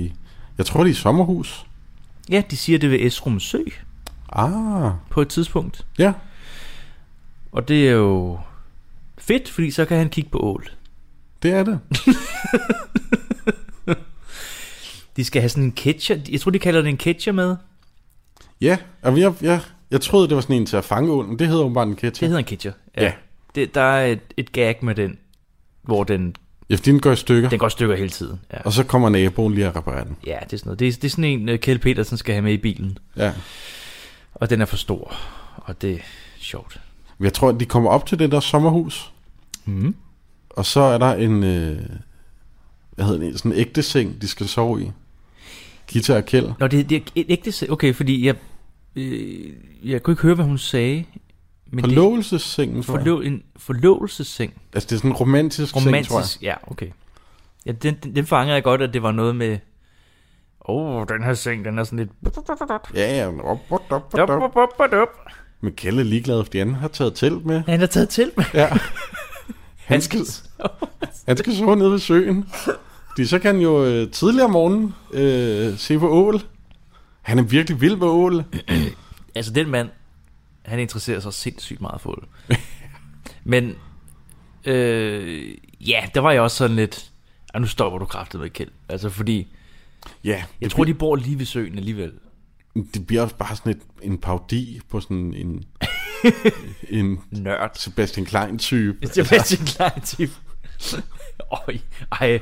[SPEAKER 2] jeg tror det er i sommerhus.
[SPEAKER 3] Ja, de siger det ved Esrum Sø
[SPEAKER 2] Ah,
[SPEAKER 3] på et tidspunkt.
[SPEAKER 2] ja.
[SPEAKER 3] Og det er jo fedt, fordi så kan han kigge på ål.
[SPEAKER 2] Det er det.
[SPEAKER 3] De skal have sådan en catcher. Jeg tror, de kalder det en catcher med.
[SPEAKER 2] Ja, og jeg, jeg, jeg troede, det var sådan en til at fange ål, men det hedder jo bare en ketchup.
[SPEAKER 3] Det hedder en catcher.
[SPEAKER 2] Ja.
[SPEAKER 3] Det, der er et, et gag med den, hvor den,
[SPEAKER 2] Ja, fordi den går i stykker,
[SPEAKER 3] den går i stykker hele tiden. Ja,
[SPEAKER 2] og så kommer naboen lige og reparerer den.
[SPEAKER 3] ja det er sådan noget. Det er, det er sådan en, øh, Kjeld Petersen skal have med i bilen.
[SPEAKER 2] Ja.
[SPEAKER 3] Og den er for stor. Og det er sjovt.
[SPEAKER 2] Men Jeg tror, de kommer op til det der sommerhus, Mm-hmm.
[SPEAKER 3] Mm.
[SPEAKER 2] og så er der en, øh, hvad hedder det, sådan en ægte seng, de skal sove i. Gita og Kjeld.
[SPEAKER 3] Nå, det, det er et ægte... se- Okay, fordi jeg... Øh, jeg kunne ikke høre, hvad hun sagde. Men
[SPEAKER 2] Forlovelsessengen,
[SPEAKER 3] det,
[SPEAKER 2] tror jeg.
[SPEAKER 3] forlo, en forlovelsesseng.
[SPEAKER 2] Altså, det er sådan en romantisk, seng, tror jeg.
[SPEAKER 3] Romantisk, ja, okay. Ja, den, den, den fangede jeg godt, at det var noget med... Åh, oh, den her seng, den er sådan lidt...
[SPEAKER 2] Ja, ja. men op, op, op,
[SPEAKER 3] Dup,
[SPEAKER 2] op,
[SPEAKER 3] dup,
[SPEAKER 2] op.
[SPEAKER 3] dup, dup, dup.
[SPEAKER 2] Men Kjeld er ligeglad, fordi han har taget telt med.
[SPEAKER 3] Han har taget til med
[SPEAKER 2] Ja. Han skal, han skal sove nede ved søen. Fordi så kan han jo øh, tidligere om morgenen øh, se på ål. Han er virkelig vild med ål.
[SPEAKER 3] Altså, den mand, han interesserer sig sindssygt meget for det. (laughs) Men, øh, ja, der var jeg også sådan lidt... Og nu stopper du kraftet med Kjeld. Altså, fordi...
[SPEAKER 2] Ja,
[SPEAKER 3] Jeg tror, de bor lige ved søen alligevel.
[SPEAKER 2] det bliver også bare sådan et, en parodi på sådan
[SPEAKER 3] (laughs)
[SPEAKER 2] en, en
[SPEAKER 3] Nørd.
[SPEAKER 2] Sebastian Altså, Klein-type.
[SPEAKER 3] (laughs) Det er bedst en klar (laughs) tip. Øj, ej.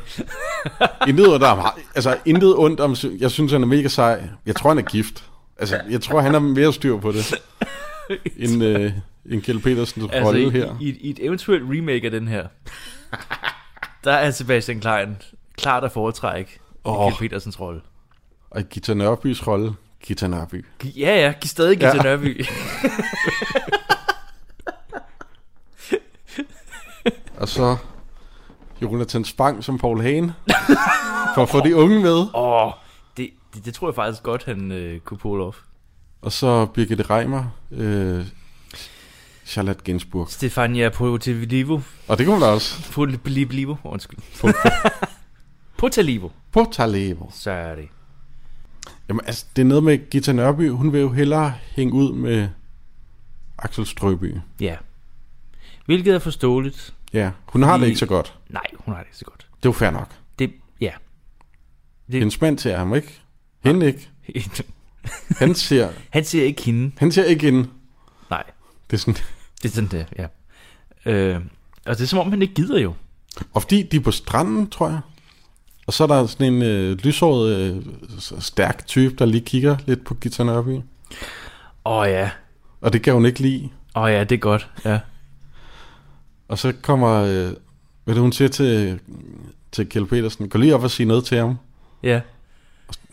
[SPEAKER 2] Intet ondt om, altså, intet ondt om, sø- jeg synes, han er mega sej. Jeg tror, han er gift. Altså, jeg tror, han er mere styr på
[SPEAKER 3] (laughs)
[SPEAKER 2] det, end, øh, end Kjell Petersens altså,
[SPEAKER 3] Altså,
[SPEAKER 2] rolle
[SPEAKER 3] i,
[SPEAKER 2] her.
[SPEAKER 3] i, i et eventuelt remake af den (laughs) her, der er Sebastian Klein klart at foretrække oh.
[SPEAKER 2] Åh.
[SPEAKER 3] Kjell Petersens rolle.
[SPEAKER 2] Og Gita Nørbys rolle, Gita Nørby.
[SPEAKER 3] Gi- Ja, ja, giv stadig Gita
[SPEAKER 2] Ja.
[SPEAKER 3] Nørby.
[SPEAKER 2] Og så Jonathan Spang som Paul Hagen. For at få de unge med.
[SPEAKER 3] (laughs) Åh, oh, det, det, det tror jeg faktisk godt, han øh, kunne pull off.
[SPEAKER 2] Og så Birgitte Reimer. Øh, Charlotte Gainsbourg.
[SPEAKER 3] Stefania Potalivo.
[SPEAKER 2] Og det kunne man også.
[SPEAKER 3] Potalivo,
[SPEAKER 2] (laughs)
[SPEAKER 3] undskyld.
[SPEAKER 2] På,
[SPEAKER 3] Potalivo.
[SPEAKER 2] på Talevo.
[SPEAKER 3] Så er det.
[SPEAKER 2] Jamen altså, det er noget med Gita Nørby. Hun vil jo hellere hænge ud med Axel Strøby.
[SPEAKER 3] Ja. Hvilket er forståeligt.
[SPEAKER 2] Ja, hun har det
[SPEAKER 3] Fordi-
[SPEAKER 2] ikke så godt.
[SPEAKER 3] Nej, hun har det ikke så godt.
[SPEAKER 2] Det er jo fair nok.
[SPEAKER 3] Det, ja. (laughs)
[SPEAKER 2] Hendes mand ser ham ikke. Hende ikke. Han ser,
[SPEAKER 3] Han ser ikke hende.
[SPEAKER 2] han ser ikke hende.
[SPEAKER 3] Nej,
[SPEAKER 2] Det er sådan,
[SPEAKER 3] det er sådan det, er, ja. Øh, og det er som om, han ikke gider jo.
[SPEAKER 2] Og fordi de er på stranden, tror jeg. Og så er der sådan en øh, lyshåret, øh, s- stærk type, der lige kigger lidt på Gita Nørby.
[SPEAKER 3] Åh oh, ja.
[SPEAKER 2] Og det kan hun ikke lide.
[SPEAKER 3] Åh oh, ja, det er godt. Ja.
[SPEAKER 2] Og så kommer, øh, hvad det, hun siger til, til Kjell Petersen, gå lige op og sige noget til ham.
[SPEAKER 3] ja.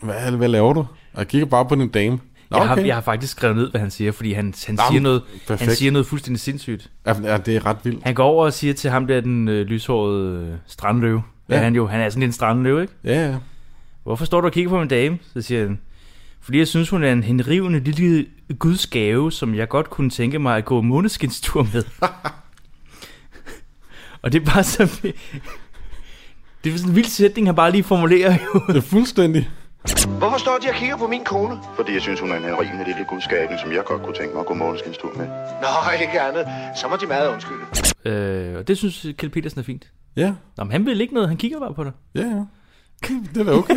[SPEAKER 2] Hvad, hvad laver du? Og jeg kigger bare på din dame. Nå,
[SPEAKER 3] Jeg, har,
[SPEAKER 2] okay.
[SPEAKER 3] jeg har faktisk skrevet ned, hvad han siger, fordi han, han,
[SPEAKER 2] Nå,
[SPEAKER 3] siger, noget, han
[SPEAKER 2] perfekt.
[SPEAKER 3] siger noget fuldstændig sindssygt.
[SPEAKER 2] Ja, ja, det er ret vildt.
[SPEAKER 3] Han går over og siger til ham der, den øh, lyshårede øh, strandløve. Ja.
[SPEAKER 2] Ja.
[SPEAKER 3] Han, jo, han er sådan en strandløve, ikke?
[SPEAKER 2] Ja, ja.
[SPEAKER 3] Hvorfor står du og kigger på min dame? Så siger han, fordi jeg synes, hun er en henrivende lille gudsgave, som jeg godt kunne tænke mig at gå måneskinstur (laughs) med. og det er bare så... Det er sådan en vild sætning, han bare lige formulerer jo.
[SPEAKER 2] Det er fuldstændig.
[SPEAKER 4] Hvorfor står de og kigger på min kone?
[SPEAKER 6] Fordi jeg synes, hun er en rimelig lille gudskabning, som jeg godt kunne tænke mig at gå morgenskinstur med.
[SPEAKER 4] Nå, ikke andet. Så må de meget undskylde.
[SPEAKER 3] Øh, og det synes Kjell Petersen er fint.
[SPEAKER 2] Ja,
[SPEAKER 3] Nå, men han vil ikke noget, han kigger bare på dig.
[SPEAKER 2] ja, ja. Det er da
[SPEAKER 3] (laughs)
[SPEAKER 2] okay.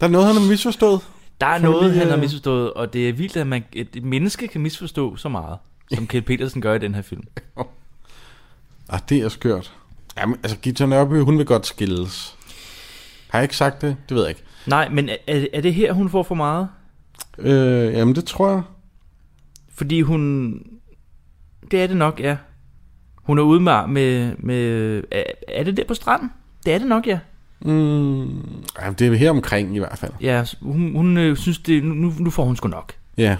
[SPEAKER 2] der er noget, han har misforstået.
[SPEAKER 3] Der er
[SPEAKER 2] Får
[SPEAKER 3] noget,
[SPEAKER 2] lige,
[SPEAKER 3] han har
[SPEAKER 2] øh,
[SPEAKER 3] misforstået, og det er vildt, at man, et et menneske kan misforstå så meget, som Kjell Petersen gør i den her film.
[SPEAKER 2] Ah, det er skørt. Jamen, altså, Gita Nørby, hun vil godt skilles. Har jeg ikke sagt det? Det ved jeg ikke.
[SPEAKER 3] Nej, men er, er er det her, hun får for meget?
[SPEAKER 2] Øh, jamen, det tror jeg.
[SPEAKER 3] Fordi hun... Det er det nok, ja. Hun er ude med... med, med er, er det der på stranden? Det er det nok, ja.
[SPEAKER 2] Mm, jamen, det er her omkring i hvert fald.
[SPEAKER 3] Ja, hun, hun øh, synes, det, nu, nu får hun sgu nok.
[SPEAKER 2] Ja,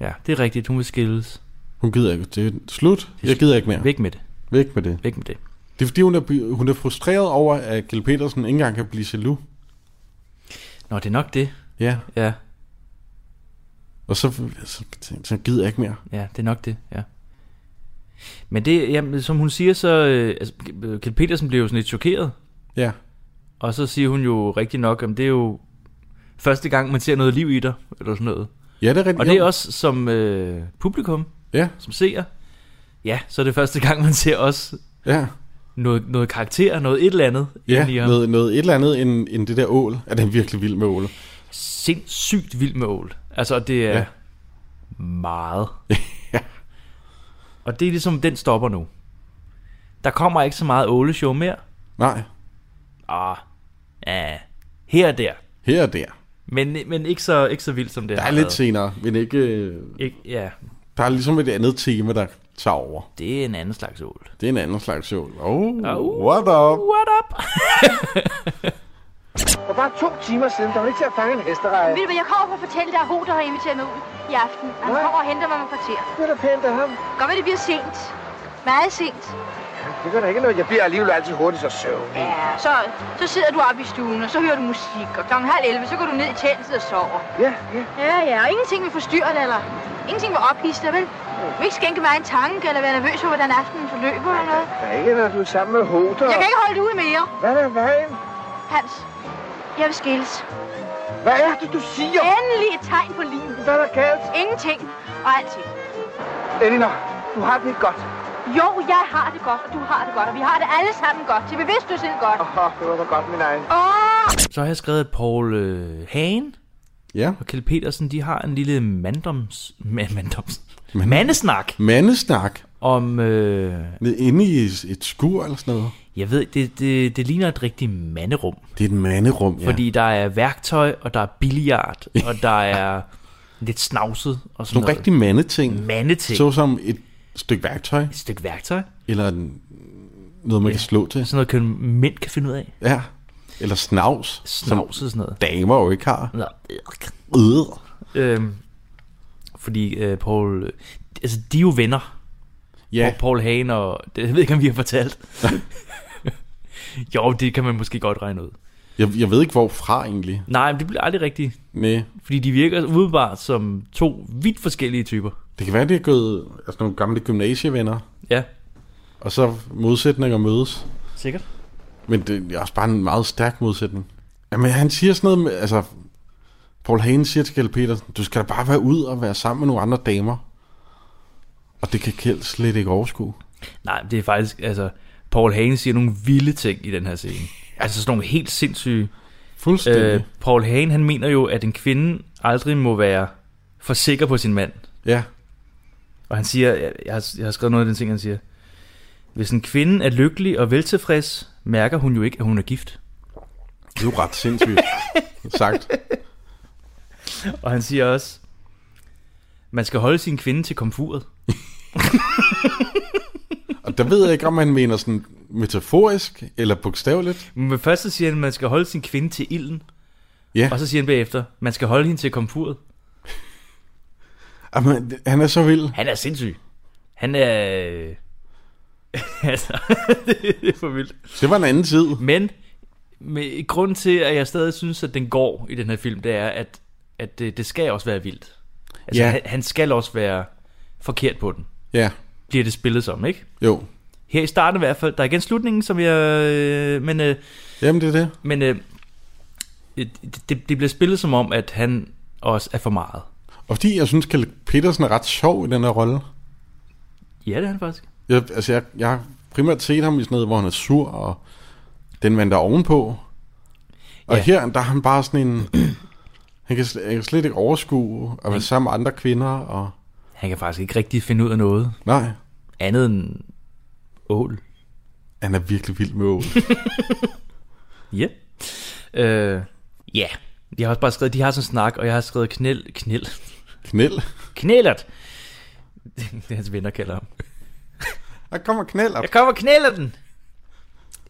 [SPEAKER 3] Ja, det er rigtigt. Hun vil skilles.
[SPEAKER 2] hun gider ikke. Det er slut. Jeg gider ikke mere.
[SPEAKER 3] Væk med det.
[SPEAKER 2] Væk med det.
[SPEAKER 3] Væk med det.
[SPEAKER 2] Det er fordi, hun er, by- hun er frustreret over, at Gil Petersen ikke engang kan blive jaloux.
[SPEAKER 3] Nå, det er nok det.
[SPEAKER 2] Ja,
[SPEAKER 3] Ja,
[SPEAKER 2] og så, så, så gider jeg ikke mere.
[SPEAKER 3] ja, det er nok det, ja. Men det, jamen, som hun siger, så... Øh, altså, Kjell Petersen blev jo sådan lidt chokeret.
[SPEAKER 2] Ja,
[SPEAKER 3] Og så siger hun jo rigtig nok, om det er jo første gang, man ser noget liv i dig, eller sådan noget.
[SPEAKER 2] Ja, det er rigtigt.
[SPEAKER 3] Og det er
[SPEAKER 2] Jo.
[SPEAKER 3] også som øh, publikum,
[SPEAKER 2] Ja,
[SPEAKER 3] som seer, ja, så er det første gang, man ser også
[SPEAKER 2] ja.
[SPEAKER 3] noget, noget karakter, noget et eller andet. inde i
[SPEAKER 2] Ja,
[SPEAKER 3] ham.
[SPEAKER 2] noget, noget et eller andet end, end det der ål. Er den virkelig vild med ål?
[SPEAKER 3] Sindssygt vild med ål. Altså, det er
[SPEAKER 2] Ja.
[SPEAKER 3] ja.
[SPEAKER 2] (laughs)
[SPEAKER 3] meget. Og det er ligesom, den stopper nu. Der kommer ikke så meget åleshow mere.
[SPEAKER 2] Nej,
[SPEAKER 3] Ah, ja, her og der.
[SPEAKER 2] her og der.
[SPEAKER 3] Men, men ikke, så, ikke så vildt som det
[SPEAKER 2] Der
[SPEAKER 3] har
[SPEAKER 2] er lidt
[SPEAKER 3] været.
[SPEAKER 2] senere, men ikke... øh,
[SPEAKER 3] Ikke, ja,
[SPEAKER 2] Der er ligesom et andet tema, der tager over.
[SPEAKER 3] det er en anden slags ål.
[SPEAKER 2] Det er en anden slags ål. Oh,
[SPEAKER 3] Au.
[SPEAKER 2] what up?
[SPEAKER 3] What up? (laughs)
[SPEAKER 4] For bare to timer siden, der var ikke til at fange en hestereje.
[SPEAKER 5] Ved du hvad, jeg kommer for at fortælle dig, at Hoder har inviteret mig ud i aften. Han
[SPEAKER 4] Hvad?
[SPEAKER 5] kommer og henter mig om et kvarter.
[SPEAKER 4] Det er da pænt af ham.
[SPEAKER 5] Godt ved, det bliver sent. Meget sent.
[SPEAKER 4] Det gør da ikke noget. Jeg bliver alligevel altid hurtigt så søvn.
[SPEAKER 5] Ja, så, så sidder du oppe i stuen, og så hører du musik, og klokken halv 11, så går du ned i teltet og sover.
[SPEAKER 4] Ja, ja.
[SPEAKER 5] Ja, ja, og ingenting vil forstyrre dig, eller ingenting vil ophisse dig, vel? Du vil ikke skænke mig en tanke, eller være nervøs for, hvordan aftenen forløber eller noget.
[SPEAKER 4] Der er ikke, når du er sammen med Hoder.
[SPEAKER 5] Jeg kan ikke holde det ud mere,
[SPEAKER 4] Hvad er vejen?
[SPEAKER 5] Hans. Jeg vil skilles.
[SPEAKER 4] Hvad er det, du siger?
[SPEAKER 5] Endelig et tegn på livet.
[SPEAKER 4] Hvad er der galt?
[SPEAKER 5] Ingenting og alting.
[SPEAKER 4] Elinor, du har det ikke godt.
[SPEAKER 5] Jo, jeg har det godt, og du har det godt, og vi har det alle sammen godt. Til bevidstløshed godt.
[SPEAKER 4] Åh, det var da godt, min egen.
[SPEAKER 5] Åh!
[SPEAKER 3] Så har jeg skrevet, at Paul øh, Hagen
[SPEAKER 2] Ja,
[SPEAKER 3] og Kjeld Petersen, de har en lille mandoms, ma- mandoms,
[SPEAKER 2] Man-
[SPEAKER 3] mandesnak
[SPEAKER 2] mandesnak.
[SPEAKER 3] om... Øh,
[SPEAKER 2] Inde i et skur eller sådan noget.
[SPEAKER 3] jeg ved, det, det, det ligner et rigtigt manderum.
[SPEAKER 2] Det er et manderum, ja.
[SPEAKER 3] Ja. Fordi der er værktøj, og der er billiard,
[SPEAKER 2] (laughs)
[SPEAKER 3] og der er lidt snavset og sådan
[SPEAKER 2] Nogle
[SPEAKER 3] noget.
[SPEAKER 2] rigtig mandeting.
[SPEAKER 3] mandeting.
[SPEAKER 2] Så som et stykke værktøj,
[SPEAKER 3] Et stykke værktøj.
[SPEAKER 2] eller en, noget, man kan slå til.
[SPEAKER 3] Sådan noget, kan, mænd kan finde ud af.
[SPEAKER 2] Ja. Eller snavs, som
[SPEAKER 3] Snavset og sådan noget.
[SPEAKER 2] damer jo ikke har.
[SPEAKER 3] Nå,
[SPEAKER 2] Øh.
[SPEAKER 3] Øhm, fordi øh, Paul... øh, Altså, de er jo venner.
[SPEAKER 2] Ja,
[SPEAKER 3] Hvor Paul Hagen og... Det jeg ved jeg ikke, om vi har fortalt. (laughs) jo, det kan man måske godt regne ud.
[SPEAKER 2] jeg, jeg ved ikke hvorfra egentlig.
[SPEAKER 3] Nej, men det bliver aldrig rigtigt.
[SPEAKER 2] Næ.
[SPEAKER 3] Fordi de virker udebart som to vidt forskellige typer.
[SPEAKER 2] Det kan være, det er gået altså nogle gamle gymnasievenner,
[SPEAKER 3] Ja,
[SPEAKER 2] og så modsætninger mødes.
[SPEAKER 3] sikkert.
[SPEAKER 2] Men det er også bare en meget stærk modsætning. Jamen, han siger sådan noget med, altså... Paul Hagen siger til Kjeld Petersen, du skal da bare være ud og være sammen med nogle andre damer. Og det kan Kjeld slet ikke overskue.
[SPEAKER 3] Nej, det er faktisk... Altså, Paul Hagen siger nogle vilde ting i den her scene. Altså sådan nogle helt sindssyge...
[SPEAKER 2] Fuldstændig.
[SPEAKER 3] Øh,
[SPEAKER 2] Øh.
[SPEAKER 3] Paul Hagen, han mener jo, at en kvinde aldrig må være for sikker på sin mand.
[SPEAKER 2] Ja,
[SPEAKER 3] Og han siger, jeg, jeg, har, jeg har skrevet noget af den ting, han siger. Hvis en kvinde er lykkelig og veltilfreds, mærker hun jo ikke, at hun er gift.
[SPEAKER 2] det er jo ret sindssygt (laughs) sagt.
[SPEAKER 3] Og han siger også, man skal holde sin kvinde til komfuret.
[SPEAKER 2] Og der ved jeg ikke, om han mener sådan metaforisk eller bogstaveligt.
[SPEAKER 3] Men først så siger han, man skal holde sin kvinde til ilden.
[SPEAKER 2] Ja,
[SPEAKER 3] Og så siger han bagefter, man skal holde hende til komfuret.
[SPEAKER 2] Jamen, det- han er så vild.
[SPEAKER 3] Han er sindssyg. Han er... øh, (laughs) altså, det er for vildt.
[SPEAKER 2] Det var en anden tid.
[SPEAKER 3] Men med, grunden til, at jeg stadig synes, at den går i den her film, det er, at, at øh, det, det skal også være vildt. Altså,
[SPEAKER 2] Ja.
[SPEAKER 3] ja. han, han skal også være forkert på den.
[SPEAKER 2] Ja,
[SPEAKER 3] Bliver det spillet som, ikke?
[SPEAKER 2] jo.
[SPEAKER 3] Her i starten i hvert fald. Der er igen slutningen, som jeg... Øh, men øh,
[SPEAKER 2] Jamen, det er det.
[SPEAKER 3] men øh, det, det, det bliver spillet som om, at han også er for meget.
[SPEAKER 2] Og fordi jeg synes, Kjeld Petersen er ret sjov i den her rolle.
[SPEAKER 3] Ja, det er han faktisk.
[SPEAKER 2] Jeg, altså, jeg, jeg har primært set ham i sådan noget, hvor han er sur, og den vand der er ovenpå. Og ja.
[SPEAKER 3] Ja.
[SPEAKER 2] her, der er han bare sådan en... Han kan, sl- han kan slet ikke overskue at være sammen med andre kvinder, og...
[SPEAKER 3] Han kan faktisk ikke rigtig finde ud af noget
[SPEAKER 2] Nej,
[SPEAKER 3] andet end ål.
[SPEAKER 2] han er virkelig vild med ål.
[SPEAKER 3] Ja. Øh, ja. Jeg har også bare skrevet, de har sådan en snak, og jeg har skrevet knæl, knæl,
[SPEAKER 2] Knæl.
[SPEAKER 3] knælert. Det er (laughs) hans venner kalder ham.
[SPEAKER 2] Der kommer knællert.
[SPEAKER 3] Jeg kommer knæler den.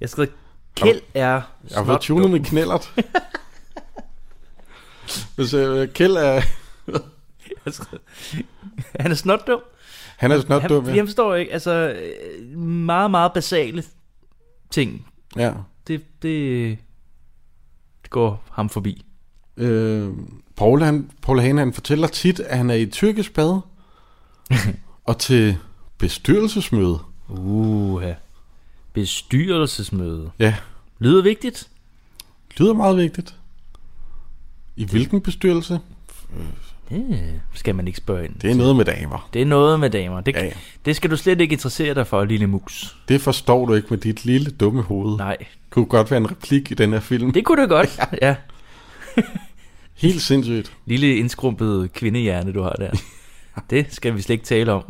[SPEAKER 3] Jeg har skrevet, kæld er
[SPEAKER 2] Jeg har fået tunet med knællert. Hvis øh, Kjeld er...
[SPEAKER 3] Jeg har skrevet, Han er snot dum.
[SPEAKER 2] Han er snart
[SPEAKER 3] Han,
[SPEAKER 2] dum,
[SPEAKER 3] fordi
[SPEAKER 2] ja.
[SPEAKER 3] han forstår ikke, altså øh, meget, meget basale ting.
[SPEAKER 2] ja.
[SPEAKER 3] Det, det, det går ham forbi.
[SPEAKER 2] Øh, Paul, han, Paul Hane, han fortæller tit, at han er i tyrkisk
[SPEAKER 3] (laughs)
[SPEAKER 2] bad. og til bestyrelsesmøde.
[SPEAKER 3] Uha. Bestyrelsesmøde.
[SPEAKER 2] Ja,
[SPEAKER 3] Lyder vigtigt.
[SPEAKER 2] Det lyder meget vigtigt. I hvilken bestyrelse?
[SPEAKER 3] Det skal man ikke spørge ind.
[SPEAKER 2] Det er noget med damer.
[SPEAKER 3] det er noget med damer. Det,
[SPEAKER 2] Ja, ja.
[SPEAKER 3] det skal du slet ikke interessere dig for, lille mus.
[SPEAKER 2] Det forstår du ikke med dit lille dumme hoved.
[SPEAKER 3] Nej,
[SPEAKER 2] Kunne godt være en replik i den her film. Det...
[SPEAKER 3] det kunne
[SPEAKER 2] (laughs)
[SPEAKER 3] du godt. ja.
[SPEAKER 2] Helt sindssygt.
[SPEAKER 3] Lille indskrumpet kvindehjerne, du har der. Det skal vi slet ikke tale om.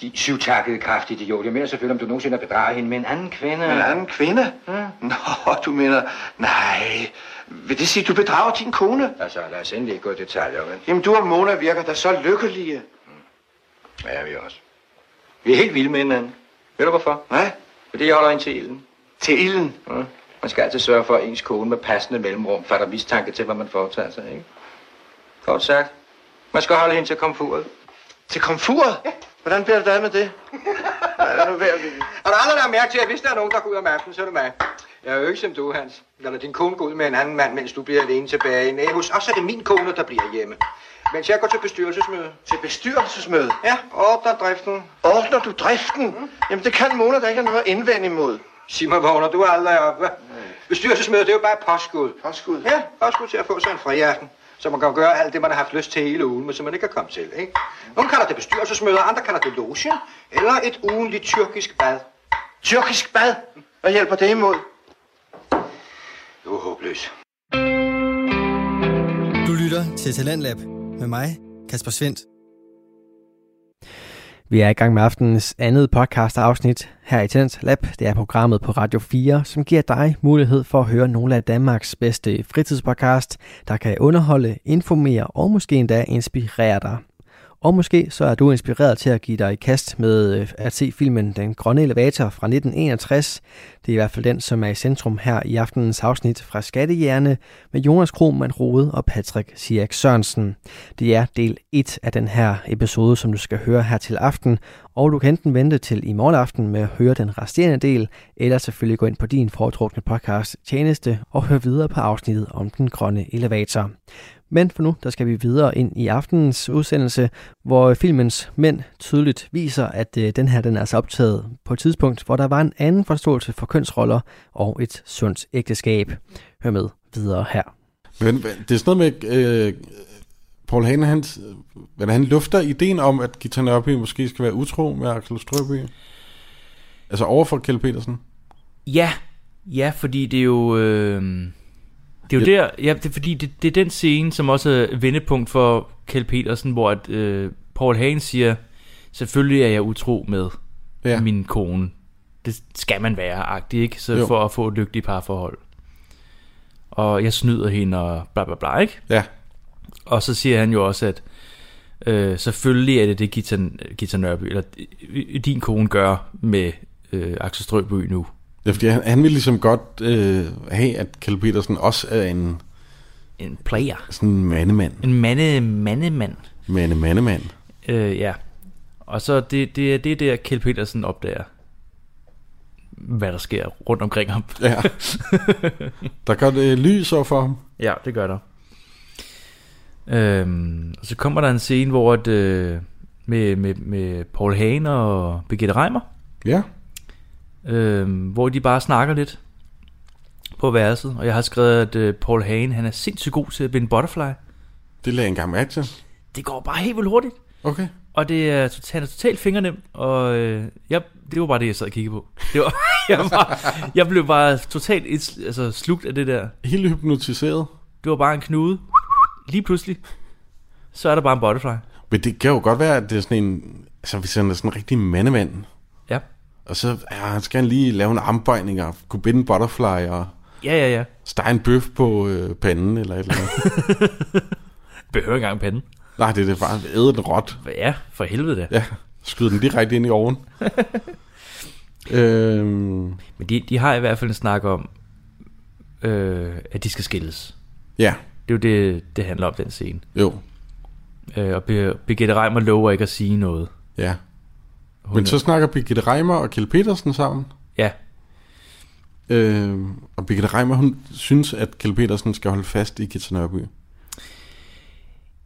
[SPEAKER 7] De syvtakkede kraftige idiot. Jeg mener selvfølgelig, om du nogensinde har bedraget hende med en anden kvinde.
[SPEAKER 4] En anden kvinde? Nå, du mener... Nej. Vil det sige, du bedrager din kone?
[SPEAKER 7] Altså, lad os endelig ikke gå i detaljer, men...
[SPEAKER 4] Jamen, du og Mona virker da så lykkelige.
[SPEAKER 7] Ja, vi også. Vi er helt vilde med hinanden. Ved du hvorfor?
[SPEAKER 4] Hvad?
[SPEAKER 7] Fordi jeg holder en til ilden.
[SPEAKER 4] Til ilden.
[SPEAKER 7] Mm. Man skal altid sørge for, at ens kone med passende mellemrum fatter mistanke til, hvad man foretager sig, ikke? Kort sagt, man skal holde hende til komfuret.
[SPEAKER 4] Til komfuret? Hvordan bliver det da med det? Nej, lad nu være, Willy.
[SPEAKER 7] Og der er andre, der har mærke til, at hvis der er nogen, der går ud om aftenen, så er det mig. Jeg er jo ikke som du, Hans. Eller din kone går ud med en anden mand, mens du bliver alene tilbage i nabos. Og så er det min kone, der bliver hjemme. Mens jeg går til bestyrelsesmøde.
[SPEAKER 4] Til bestyrelsesmøde?
[SPEAKER 7] Ja, ordner driften. Mm.
[SPEAKER 4] Ordner du driften? Jamen, det kan Mona da ikke have noget indvend imod.
[SPEAKER 7] Sig mig, vågner du aldrig op, hva? Bestyrelsesmøde, det er jo bare påskud.
[SPEAKER 4] Påskud.
[SPEAKER 7] Ja, påskud til at få sig en friaften. Så man kan gøre alt det, man har haft lyst til hele ugen, men som man ikke kan komme til, ikke? Nogle kalder det bestyrelsesmøder, andre kalder det loge, eller et ugenligt tyrkisk bad.
[SPEAKER 4] Tyrkisk bad? Hvad hjælper det imod?
[SPEAKER 7] Du er håbløs.
[SPEAKER 1] Du lytter til Talentlab med mig, Kasper Svendt. Vi er i gang med aftenens andet podcast afsnit her i Talents Lab. Det er programmet på Radio 4, som giver dig mulighed for at høre nogle af Danmarks bedste fritidspodcast, der kan underholde, informere og måske endda inspirere dig. Og måske så er du inspireret til at give dig i kast med øh, at se filmen Den Grønne Elevator fra 1961. Det er i hvert fald den, som er i centrum her i aftenens afsnit fra Skattehjerne med Jonas Krohmann Rode og Patrick Siak Sørensen. Det er del 1 af den her episode, som du skal høre her til aften, og du kan enten vente til i morgen aften med at høre den resterende del, eller selvfølgelig gå ind på din foretrukne podcast Tjeneste og høre videre på afsnittet om den grønne elevator. Men for nu, der skal vi videre ind i aftenens udsendelse, hvor filmens mænd tydeligt viser, at øh, den her den er altså optaget på et tidspunkt, hvor der var en anden forståelse for kønsroller og et sundt ægteskab. Hør med videre her.
[SPEAKER 2] Men hva- det er sådan noget med... Øh, Paul Hane, han, hvad er det, han lufter ideen om, at Gita Nørby måske skal være utro med Axel Strøby. Altså overfor Kjell Petersen.
[SPEAKER 3] Ja, ja, fordi det er jo... Øh, det er jo der, ja, det er fordi det, det er den scene, som også er vendepunkt for Kjell Petersen, hvor at, øh, Paul Hagen siger, selvfølgelig er jeg utro med
[SPEAKER 2] Ja.
[SPEAKER 3] ja. min kone. Det skal man være, agtig, ikke? Så
[SPEAKER 2] Jo.
[SPEAKER 3] jo. for at få et lykkeligt parforhold. Og jeg snyder hende og bla bla bla, ikke?
[SPEAKER 2] Ja.
[SPEAKER 3] Og så siger han jo også, at øh, selvfølgelig er det det, Gita, Gita Nørby, eller øh, din kone gør med øh, Axel Strøby nu.
[SPEAKER 2] ja fordi han, han vil ligesom godt øh, have, at Kjell Petersen også er en
[SPEAKER 3] En player.
[SPEAKER 2] sådan mandemand.
[SPEAKER 3] En mande, mandemand.
[SPEAKER 2] Mande, mandemand.
[SPEAKER 3] Øh, ja. Og så det, det, er- det er der, Kjell Petersen opdager, hvad der sker rundt omkring ham.
[SPEAKER 2] Ja. Der går det lys over for ham.
[SPEAKER 3] Ja, det gør der. Øhm, og så kommer der en scene, hvor at, øh, med, med, med Paul Hagen og Birgitte Reimer,
[SPEAKER 2] Ja.
[SPEAKER 3] øhm, hvor de bare snakker lidt på værelset. Og jeg har skrevet, at øh, Paul Hagen han er sindssygt god til at binde butterfly.
[SPEAKER 2] Det lagde jeg engang mærke til.
[SPEAKER 3] Det går bare helt vildt hurtigt.
[SPEAKER 2] Okay.
[SPEAKER 3] Og det er totalt, han er totalt fingernem, og øh, jeg, det var bare det, jeg sad og kiggede på. Det var, (laughs) jeg, var, jeg blev bare totalt et, altså, slugt af det der.
[SPEAKER 2] Helt hypnotiseret.
[SPEAKER 3] Det var bare en knude. Lige pludselig, så er der bare en butterfly.
[SPEAKER 2] Men det kan jo godt være, at det er sådan en... Altså, hvis han er sådan en rigtig mandemand,
[SPEAKER 3] Ja,
[SPEAKER 2] og så ja, han skal han lige lave en armbøjning og kunne binde en butterfly og
[SPEAKER 3] ja, ja. ja.
[SPEAKER 2] stege en bøf på øh, panden eller et eller (laughs) andet.
[SPEAKER 3] Behøver ikke engang panden.
[SPEAKER 2] Nej, det er det bare æde den råt.
[SPEAKER 3] Ja, for helvede da. Ja.
[SPEAKER 2] Ja, skyde den direkte ind i (laughs) oven. øhm,
[SPEAKER 3] Men de, de har i hvert fald en snak om, øh, at de skal skilles.
[SPEAKER 2] ja,
[SPEAKER 3] Det er jo det, det handler om, den scene.
[SPEAKER 2] jo,
[SPEAKER 3] Øh, og Bir- Birgitte Reimer lover ikke at sige noget.
[SPEAKER 2] ja.
[SPEAKER 3] Hun
[SPEAKER 2] Men så snakker Birgitte Reimer og Kjell Petersen sammen.
[SPEAKER 3] Ja,
[SPEAKER 2] Øhm, og Birgitte Reimer, hun synes, at Kjell Petersen skal holde fast i Gita Nørby.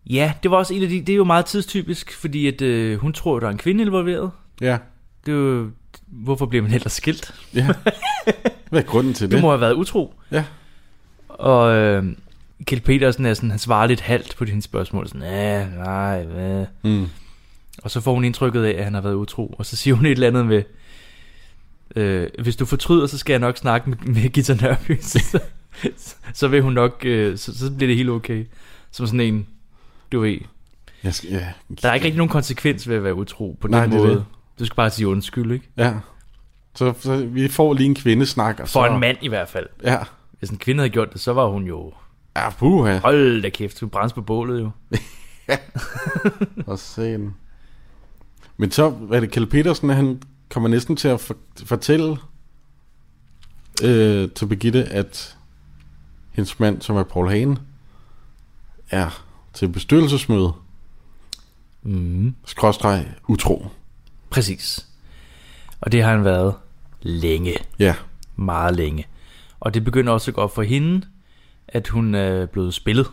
[SPEAKER 3] Ja, det var også en af de, det er jo meget tidstypisk, fordi at, øh, hun tror, der er en kvinde involveret.
[SPEAKER 2] Ja,
[SPEAKER 3] Det er jo, hvorfor bliver man ellers skilt?
[SPEAKER 2] ja. Hvad er grunden til
[SPEAKER 3] Du
[SPEAKER 2] det?
[SPEAKER 3] må have været utro.
[SPEAKER 2] Ja.
[SPEAKER 3] Og øh, Kjeld Petersen er sådan, han svarer lidt halvt på dine spørgsmål. Sådan, ja, nej, hvad?
[SPEAKER 2] Mm.
[SPEAKER 3] Og så får hun indtrykket af, at han har været utro. Og så siger hun et eller andet med, øh, hvis du fortryder, så skal jeg nok snakke med, med Gita Nørby. (laughs) så, så vil hun nok, øh, så, så bliver det helt okay. Som sådan en, du ved,
[SPEAKER 2] Jeg skal, ja.
[SPEAKER 3] der er ikke rigtig nogen konsekvens ved at være utro på den
[SPEAKER 2] Nej, det er
[SPEAKER 3] måde.
[SPEAKER 2] det.
[SPEAKER 3] Du skal bare sige undskyld, ikke?
[SPEAKER 2] Ja. Så, så vi får lige en kvindesnak. Og
[SPEAKER 3] For
[SPEAKER 2] så,
[SPEAKER 3] en mand i hvert fald.
[SPEAKER 2] Ja.
[SPEAKER 3] Hvis en kvinde havde gjort det, så var hun jo...
[SPEAKER 2] Ja, puha.
[SPEAKER 3] Hold da kæft, hun brændes på bålet jo.
[SPEAKER 2] Og sen. Men så er det Kjell Petersen, at han kommer næsten til at for, fortælle øh, til Birgitte, at hendes mand, som er Paul Hagen, er til bestyrelsesmøde,
[SPEAKER 3] Mm.
[SPEAKER 2] skråstreg, utro.
[SPEAKER 3] Præcis. Og det har han været længe.
[SPEAKER 2] Ja,
[SPEAKER 3] Meget længe. Og det begynder også at gå op for hende, at hun er blevet spillet.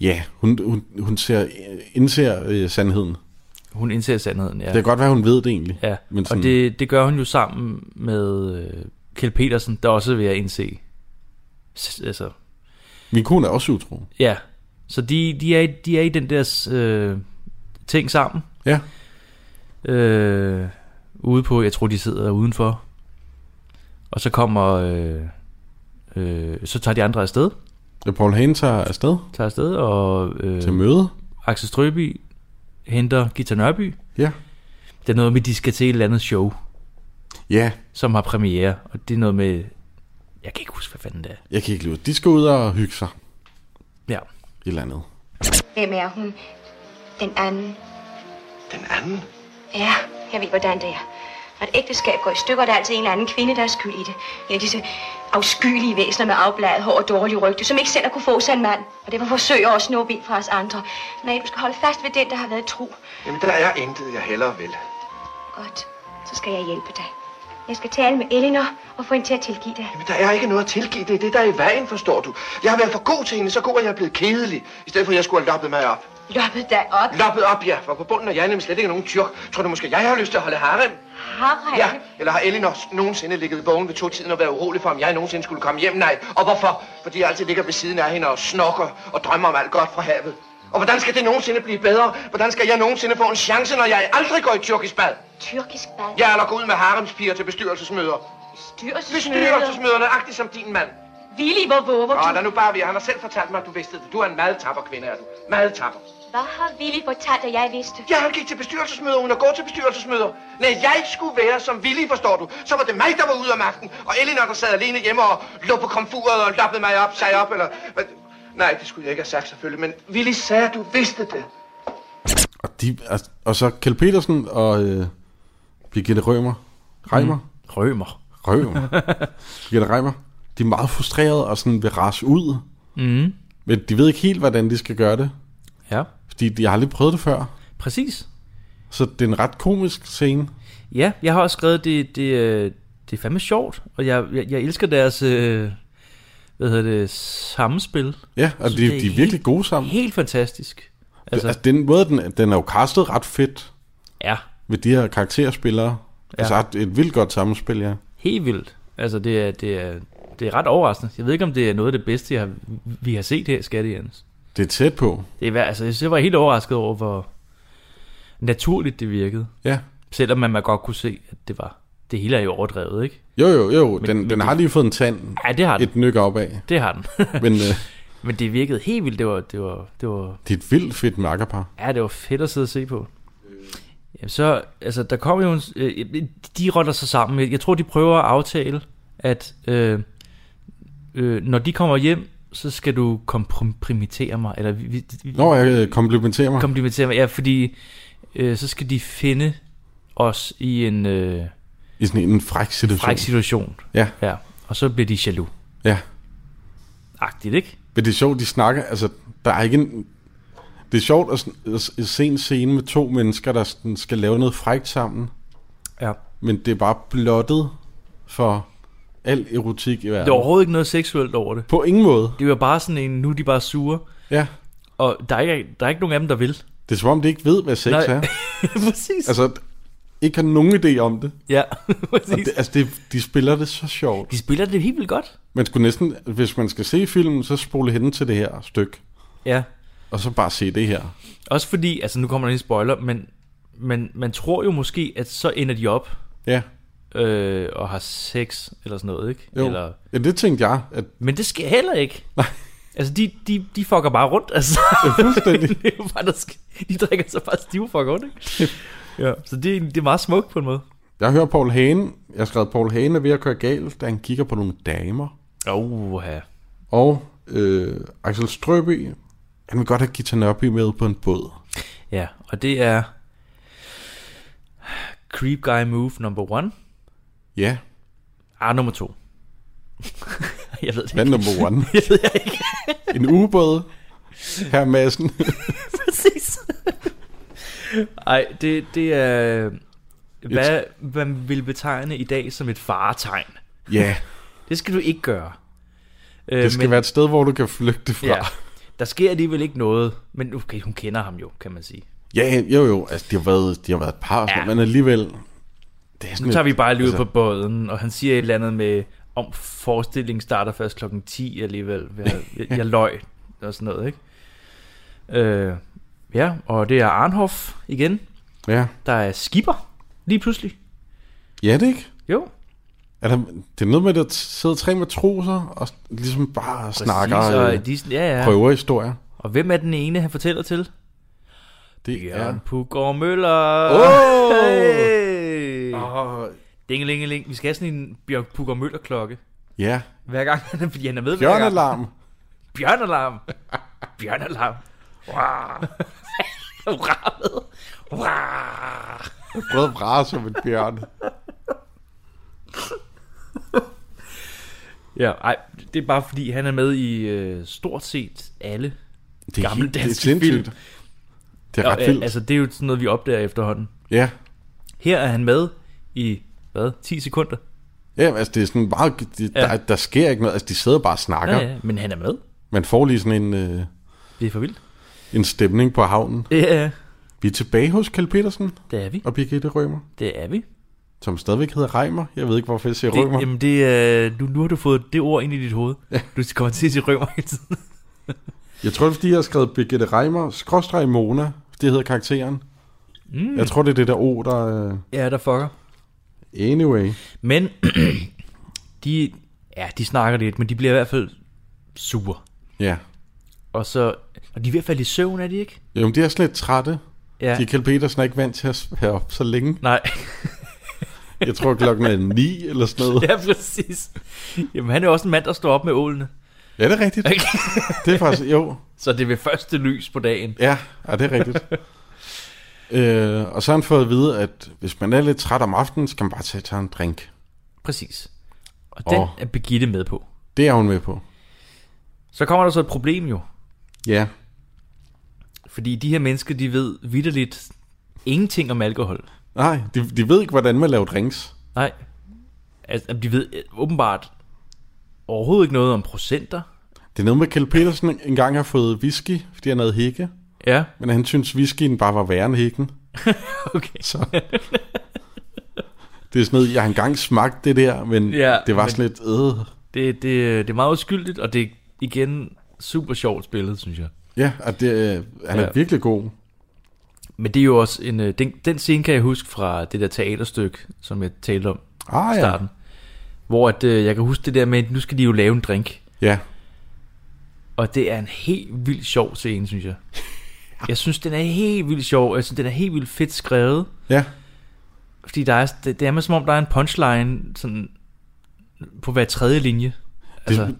[SPEAKER 2] ja hun, hun, hun ser, indser øh, sandheden.
[SPEAKER 3] Hun indser sandheden, ja.
[SPEAKER 2] Det kan godt være, hun ved det egentlig.
[SPEAKER 3] ja.
[SPEAKER 2] men sådan-
[SPEAKER 3] Og det, det gør hun jo sammen med øh, Kjeld Petersen, der også er ved at indse. S- altså,
[SPEAKER 2] Min kone er også utro.
[SPEAKER 3] ja. Så de, de, er, i- de er i den der øh, ting sammen.
[SPEAKER 2] Ja,
[SPEAKER 3] øh, ude på, jeg tror de sidder udenfor. Og så kommer, øh, øh, så tager de andre afsted,
[SPEAKER 2] og Paul Hagen tager afsted
[SPEAKER 3] tager afsted, og øh,
[SPEAKER 2] til møde.
[SPEAKER 3] Axel Strøby henter Gita Nørby.
[SPEAKER 2] Ja.
[SPEAKER 3] Det er noget med, de skal til et eller andet show,
[SPEAKER 2] Ja,
[SPEAKER 3] som har premiere, og det er noget med, jeg kan ikke huske, hvad fanden det er.
[SPEAKER 2] jeg kan ikke lide det. De skal ud og hygge sig
[SPEAKER 3] Ja.
[SPEAKER 2] et eller andet.
[SPEAKER 5] Hvem er hun? Den anden.
[SPEAKER 4] Den anden?
[SPEAKER 5] Ja, jeg ved, hvordan det er. Når et ægteskab går i stykker, er der altid en eller anden kvinde, der er skyld i det. En af disse afskyelige væsener med afbladet hår og dårlig rygte, som ikke selv har kunne få sig en mand. Og derfor forsøger at snuppe ind fra os andre. Nej, du skal holde fast ved den, der har været tro.
[SPEAKER 4] Jamen, der er intet, jeg hellere vil.
[SPEAKER 5] Godt, så skal jeg hjælpe dig. Jeg skal tale med Elinor og få hende til at tilgive dig.
[SPEAKER 4] Jamen, der er ikke noget at tilgive. Det er det, der er i vejen, forstår du. Jeg har været for god til hende, så god, at jeg er blevet kedelig. I stedet for, at jeg skulle have loppet mig op.
[SPEAKER 5] Loppet dig op,
[SPEAKER 4] Loppet op, ja. For på bunden af hjernen slet ikke nogen tyrk. Tror du måske, jeg har lyst til at holde harem?
[SPEAKER 5] Harald.
[SPEAKER 4] Ja, eller har Elinor nogensinde ligget vågen ved to-tiden og været urolig for, om jeg nogensinde skulle komme hjem? Nej, og hvorfor? Fordi jeg altid ligger ved siden af hende og snokker og drømmer om alt godt fra havet. Og hvordan skal det nogensinde blive bedre? Hvordan skal jeg nogensinde få en chance, når jeg aldrig går i tyrkisk bad?
[SPEAKER 5] Tyrkisk bad.
[SPEAKER 4] Jeg er nok ud med haremspiger til bestyrelsesmøder.
[SPEAKER 5] Bestyrelsesmøde. Ah,
[SPEAKER 4] Bestyrelsesmøderne, agtig som din mand.
[SPEAKER 5] Willy, hvor våger
[SPEAKER 4] Nå, lad
[SPEAKER 5] du?
[SPEAKER 4] nu bare ved. Han har selv fortalt mig, at du vidste det. Du er en meget tapper kvinde, er du. Meget tapper.
[SPEAKER 5] Hvad har Willy fortalt, at jeg vidste?
[SPEAKER 4] Ja, han gik til bestyrelsesmøder, uden at gå til bestyrelsesmøder. Nej, jeg skulle være som villig, forstår du. Så var det mig, der var ude om aftenen, og Elinor, der sad alene hjemme og lå på komfuret og lappede mig op, sag op, eller... hvad- Nej, det skulle jeg ikke have sagt selvfølgelig, men Willy sagde, at du vidste det.
[SPEAKER 2] Og, de, og, og så Kjell Petersen og øh, Birgitte Rømer, Reimer, mm.
[SPEAKER 3] Rømer. (laughs)
[SPEAKER 2] Rømer, Birgitte Reimer, de er meget frustrerede og sådan vil rase ud.
[SPEAKER 3] Mm.
[SPEAKER 2] Men de ved ikke helt, hvordan de skal gøre det,
[SPEAKER 3] Ja,
[SPEAKER 2] fordi de har aldrig prøvet det før.
[SPEAKER 3] præcis.
[SPEAKER 2] Så det er en ret komisk scene.
[SPEAKER 3] Ja, jeg har også skrevet, det, det, øh, det er fandme sjovt, og jeg, jeg, jeg elsker deres, øh, hvad hedder det, samspil.
[SPEAKER 2] Ja, og
[SPEAKER 3] Så
[SPEAKER 2] de,
[SPEAKER 3] det er
[SPEAKER 2] de er
[SPEAKER 3] helt-
[SPEAKER 2] virkelig gode sammen.
[SPEAKER 3] Helt fantastisk.
[SPEAKER 2] Altså,
[SPEAKER 3] Altså,
[SPEAKER 2] den måde, den, den er jo castet ret fedt
[SPEAKER 3] ja,
[SPEAKER 2] med de her karakterspillere. Ja. Altså et, et vildt godt samspil, ja.
[SPEAKER 3] helt vildt. Altså, det er, det, er, det er ret overraskende. Jeg ved ikke, om det er noget af det bedste, jeg har, vi har set her i Skatte Jens.
[SPEAKER 2] Det er tæt på.
[SPEAKER 3] Det er, hver- altså, jeg synes, jeg var helt overrasket over, hvor naturligt det virkede.
[SPEAKER 2] Ja.
[SPEAKER 3] Selvom man, man godt kunne se, at det var... Det hele er jo overdrevet, ikke?
[SPEAKER 2] Jo, jo, jo. Den,
[SPEAKER 3] men
[SPEAKER 2] den
[SPEAKER 3] det-
[SPEAKER 2] har lige fået en tand.
[SPEAKER 3] Ja, det har den.
[SPEAKER 2] Et nyk op af.
[SPEAKER 3] Det har den. (laughs)
[SPEAKER 2] Men øh,
[SPEAKER 3] Men det virkede helt vildt. Det var, det var, det var,
[SPEAKER 2] det er et vildt fedt makkerpar.
[SPEAKER 3] ja, det var fedt at sidde og se på.
[SPEAKER 2] Øh.
[SPEAKER 3] Jamen så, altså, der kom jo en, øh, de rotter sig sammen. Jeg tror, de prøver at aftale, at øh, øh, når de kommer hjem, så skal du kompromittere mig, eller vi, vi, vi-
[SPEAKER 2] Nå, jeg øh, komplimenterer mig. Kom.
[SPEAKER 3] komplimentere mig, ja, fordi øh, så skal de finde os i en øh,
[SPEAKER 2] I sådan en fræk situation.
[SPEAKER 3] fræk situation.
[SPEAKER 2] Ja,
[SPEAKER 3] Ja, og så bliver de jaloux-agtigt,
[SPEAKER 2] ja.
[SPEAKER 3] ikke?
[SPEAKER 2] Men det er sjovt, de snakker, altså, der er ikke en... Det er sjovt at, sådan- at s- at se en scene med to mennesker, der sådan skal lave noget frækt sammen,
[SPEAKER 3] Ja.
[SPEAKER 2] men det er bare blottet for al erotik i verden.
[SPEAKER 3] Der er overhovedet ikke noget seksuelt over det.
[SPEAKER 2] På ingen måde.
[SPEAKER 3] Det var bare sådan en, nu er de bare sure,
[SPEAKER 2] Ja.
[SPEAKER 3] og der er ikke, der er ikke nogen af dem, der vil. (laughs)
[SPEAKER 2] Det er som om, de ikke ved, hvad sex
[SPEAKER 3] Nej.
[SPEAKER 2] er.
[SPEAKER 3] Præcis.
[SPEAKER 2] Altså, ikke har nogen idé om det.
[SPEAKER 3] Ja,
[SPEAKER 2] Og
[SPEAKER 3] præcis.
[SPEAKER 2] det altså, det, de spiller det så sjovt.
[SPEAKER 3] De spiller det helt vildt godt.
[SPEAKER 2] Man skulle næsten, hvis man skal se filmen, så spole hen til det her stykke,
[SPEAKER 3] Ja.
[SPEAKER 2] og så bare se det her.
[SPEAKER 3] Også fordi, altså nu kommer der en spoiler, men, men man tror jo måske, at så ender de op
[SPEAKER 2] Ja,
[SPEAKER 3] øh, og har sex eller sådan noget, ikke?
[SPEAKER 2] jo.
[SPEAKER 3] Eller,
[SPEAKER 2] Ja, det tænkte jeg, at
[SPEAKER 3] men det sker heller ikke. Altså, de, de, de fucker bare rundt, altså.
[SPEAKER 2] fuldstændig.
[SPEAKER 3] (laughs) det er jo bare, der sker. De drikker sig bare stive for rundt, ikke? ja. Så det, er- det er meget smukt på en måde.
[SPEAKER 2] jeg hører Paul Hagen, jeg har skrevet, Paul Hagen er ved at køre galt, da han kigger på nogle damer.
[SPEAKER 3] Åh, ja.
[SPEAKER 2] Og øh, Axel Strøby, han vil godt have Gita Nørby med på en båd.
[SPEAKER 3] Ja, og det er Creep Guy Move number one.
[SPEAKER 2] Ja,
[SPEAKER 3] Ah, nummer to. (laughs) jeg ved det
[SPEAKER 2] hvad er
[SPEAKER 3] ikke.
[SPEAKER 2] number one?
[SPEAKER 3] (laughs) Jeg ved jeg ikke
[SPEAKER 2] (laughs) En ubåd, her
[SPEAKER 3] (laughs)
[SPEAKER 2] Madsen.
[SPEAKER 3] præcis. Ej, det, det er... Hvad man vil betegne i dag som et faretegn.
[SPEAKER 2] ja,
[SPEAKER 3] Det skal du ikke gøre. Øh,
[SPEAKER 2] det skal være et sted, hvor du kan flygte fra.
[SPEAKER 3] Ja, der sker alligevel ikke noget, men okay, hun kender ham jo, kan man sige.
[SPEAKER 2] Ja, jo jo, altså de har været, de har været et par,
[SPEAKER 3] Ja.
[SPEAKER 2] ja. men alligevel... Det er sådan
[SPEAKER 3] Nu tager
[SPEAKER 2] lidt-
[SPEAKER 3] vi bare lige ud
[SPEAKER 2] altså,
[SPEAKER 3] på båden, og han siger et eller andet med, om forestillingen starter først klokken 10 alligevel.
[SPEAKER 2] (laughs)
[SPEAKER 3] Jeg, jeg, jeg løg, og sådan noget, ikke? Øh, ja, og det er Arnhoff igen,
[SPEAKER 2] Ja.
[SPEAKER 3] der er skipper lige pludselig.
[SPEAKER 2] ja, det er ikke?
[SPEAKER 3] Jo,
[SPEAKER 2] Er der, det er noget med, at der sidder tre matroser og s- ligesom bare Præcis, snakker og
[SPEAKER 3] og de, er sådan- ja, ja.
[SPEAKER 2] prøver historier.
[SPEAKER 3] Og hvem er den ene, han fortæller til?
[SPEAKER 2] Det er...
[SPEAKER 3] Jørgen Pugård Møller.
[SPEAKER 2] Åh!
[SPEAKER 3] Hey!
[SPEAKER 2] Og,
[SPEAKER 3] Dingelingeling. Vi skal have sådan en Bjørn Pugård Møller-klokke.
[SPEAKER 2] ja,
[SPEAKER 3] Hver gang, han er- fordi han er med hver gang.
[SPEAKER 2] bjørnealarm.
[SPEAKER 3] Bjørnalarm. Bjørnalarm. Hurra. Hurra med. Hurra.
[SPEAKER 2] Jeg prøvede at vrage som et bjørn.
[SPEAKER 3] Ja, ej, det er bare fordi, han er med i øh, stort set alle.
[SPEAKER 2] Det er,
[SPEAKER 3] Gammel
[SPEAKER 2] helt- det er
[SPEAKER 3] dansk
[SPEAKER 2] sindssygt.
[SPEAKER 3] film.
[SPEAKER 2] Det er
[SPEAKER 3] Og,
[SPEAKER 2] ret vildt.
[SPEAKER 3] øh, altså, det er jo sådan noget, vi opdager efterhånden.
[SPEAKER 2] Ja.
[SPEAKER 3] Her er han med i, hvad, 10 sekunder?
[SPEAKER 2] ja, altså det er sådan meget... De,
[SPEAKER 3] Ja.
[SPEAKER 2] ja. der, der sker ikke noget. Altså de sidder bare og snakker.
[SPEAKER 3] Ja,
[SPEAKER 2] Ja, ja.
[SPEAKER 3] ja, men han er med.
[SPEAKER 2] Man får lige sådan en, øh,
[SPEAKER 3] Det er for vildt.
[SPEAKER 2] en stemning på havnen.
[SPEAKER 3] Ja,
[SPEAKER 2] Vi er tilbage hos Kjell Petersen
[SPEAKER 3] det er vi.
[SPEAKER 2] og Birgitte Rømer,
[SPEAKER 3] Det er vi.
[SPEAKER 2] som stadigvæk hedder Reimer. Jeg ved ikke, hvorfor jeg siger
[SPEAKER 3] Det,
[SPEAKER 2] Rømer.
[SPEAKER 3] jamen, det er, nu, nu har du fået det ord ind i dit hoved. Du kommer til at sige rømmer hele tiden.
[SPEAKER 2] Jeg tror, det er, fordi jeg har skrevet Birgitte Reimer, skråstreg Mona, det hedder karakteren. Mm. Jeg tror, det er det der O, der... øh,
[SPEAKER 3] Ja, der fucker.
[SPEAKER 2] Anyway.
[SPEAKER 3] Men (clears throat) de, ja, de snakker lidt, men de bliver i hvert fald sure.
[SPEAKER 2] Ja.
[SPEAKER 3] Og så, og de er i hvert fald i søvn, er de ikke?
[SPEAKER 2] Jo, men de er sådan lidt trætte.
[SPEAKER 3] Ja.
[SPEAKER 2] Ja. De er Kjell Petersen er ikke vant til at være op så længe.
[SPEAKER 3] (laughs) Nej,
[SPEAKER 2] Jeg tror, klokken er ni eller sådan noget.
[SPEAKER 3] (laughs) ja, præcis. Jamen, han er jo også en mand, der står op med ålene.
[SPEAKER 2] Ja, det er rigtigt.
[SPEAKER 3] Ikke?
[SPEAKER 2] Det er faktisk... Jo.
[SPEAKER 3] Så det er ved første lys på dagen.
[SPEAKER 2] Ja, ja det er
[SPEAKER 3] (laughs)
[SPEAKER 2] rigtigt. øh, og så har han fået at vide, at hvis man er lidt træt om aftenen, så kan man bare tage, tage en drink.
[SPEAKER 3] Præcis. Og den
[SPEAKER 2] Åh.
[SPEAKER 3] er Birgitte med på.
[SPEAKER 2] Det er hun med på.
[SPEAKER 3] Så kommer der så et problem jo.
[SPEAKER 2] Ja.
[SPEAKER 3] Fordi de her mennesker, de ved vidderligt ingenting om alkohol.
[SPEAKER 2] Nej, de, de ved ikke, hvordan man laver drinks.
[SPEAKER 3] Nej. Altså, de ved øh, åbenbart overhovedet ikke noget om procenter.
[SPEAKER 2] Det er noget med, at Kjell Petersen engang har fået whisky, fordi han havde hække.
[SPEAKER 3] Ja,
[SPEAKER 2] Men han synes, whiskyen bare var værre end hækken.
[SPEAKER 3] (laughs) okay.
[SPEAKER 2] Så... det er sådan noget, jeg har engang smagt det der, men
[SPEAKER 3] Ja,
[SPEAKER 2] ja, det var
[SPEAKER 3] men-
[SPEAKER 2] men... sådan lidt... Øh.
[SPEAKER 3] Det, det, det er meget uskyldigt, og det er igen super sjovt spillet, synes jeg.
[SPEAKER 2] Ja, og det, øh, han er
[SPEAKER 3] Ja.
[SPEAKER 2] ja. virkelig god.
[SPEAKER 3] Men det er jo også en... øh, Den, den scene kan jeg huske fra det der teaterstykke, som jeg talte om i
[SPEAKER 2] Ah, ja.
[SPEAKER 3] starten. Hvor at, øh, jeg kan huske det der med, at nu skal de jo lave en drink.
[SPEAKER 2] Ja,
[SPEAKER 3] Og det er en helt vildt sjov scene, synes
[SPEAKER 2] (laughs)
[SPEAKER 3] jeg. Jeg synes, den er helt vildt sjov. Jeg synes, den er helt vildt fedt skrevet.
[SPEAKER 2] ja.
[SPEAKER 3] Fordi der er, det, det er som om, der er en punchline sådan, på hver tredje linje. Altså,
[SPEAKER 2] Det,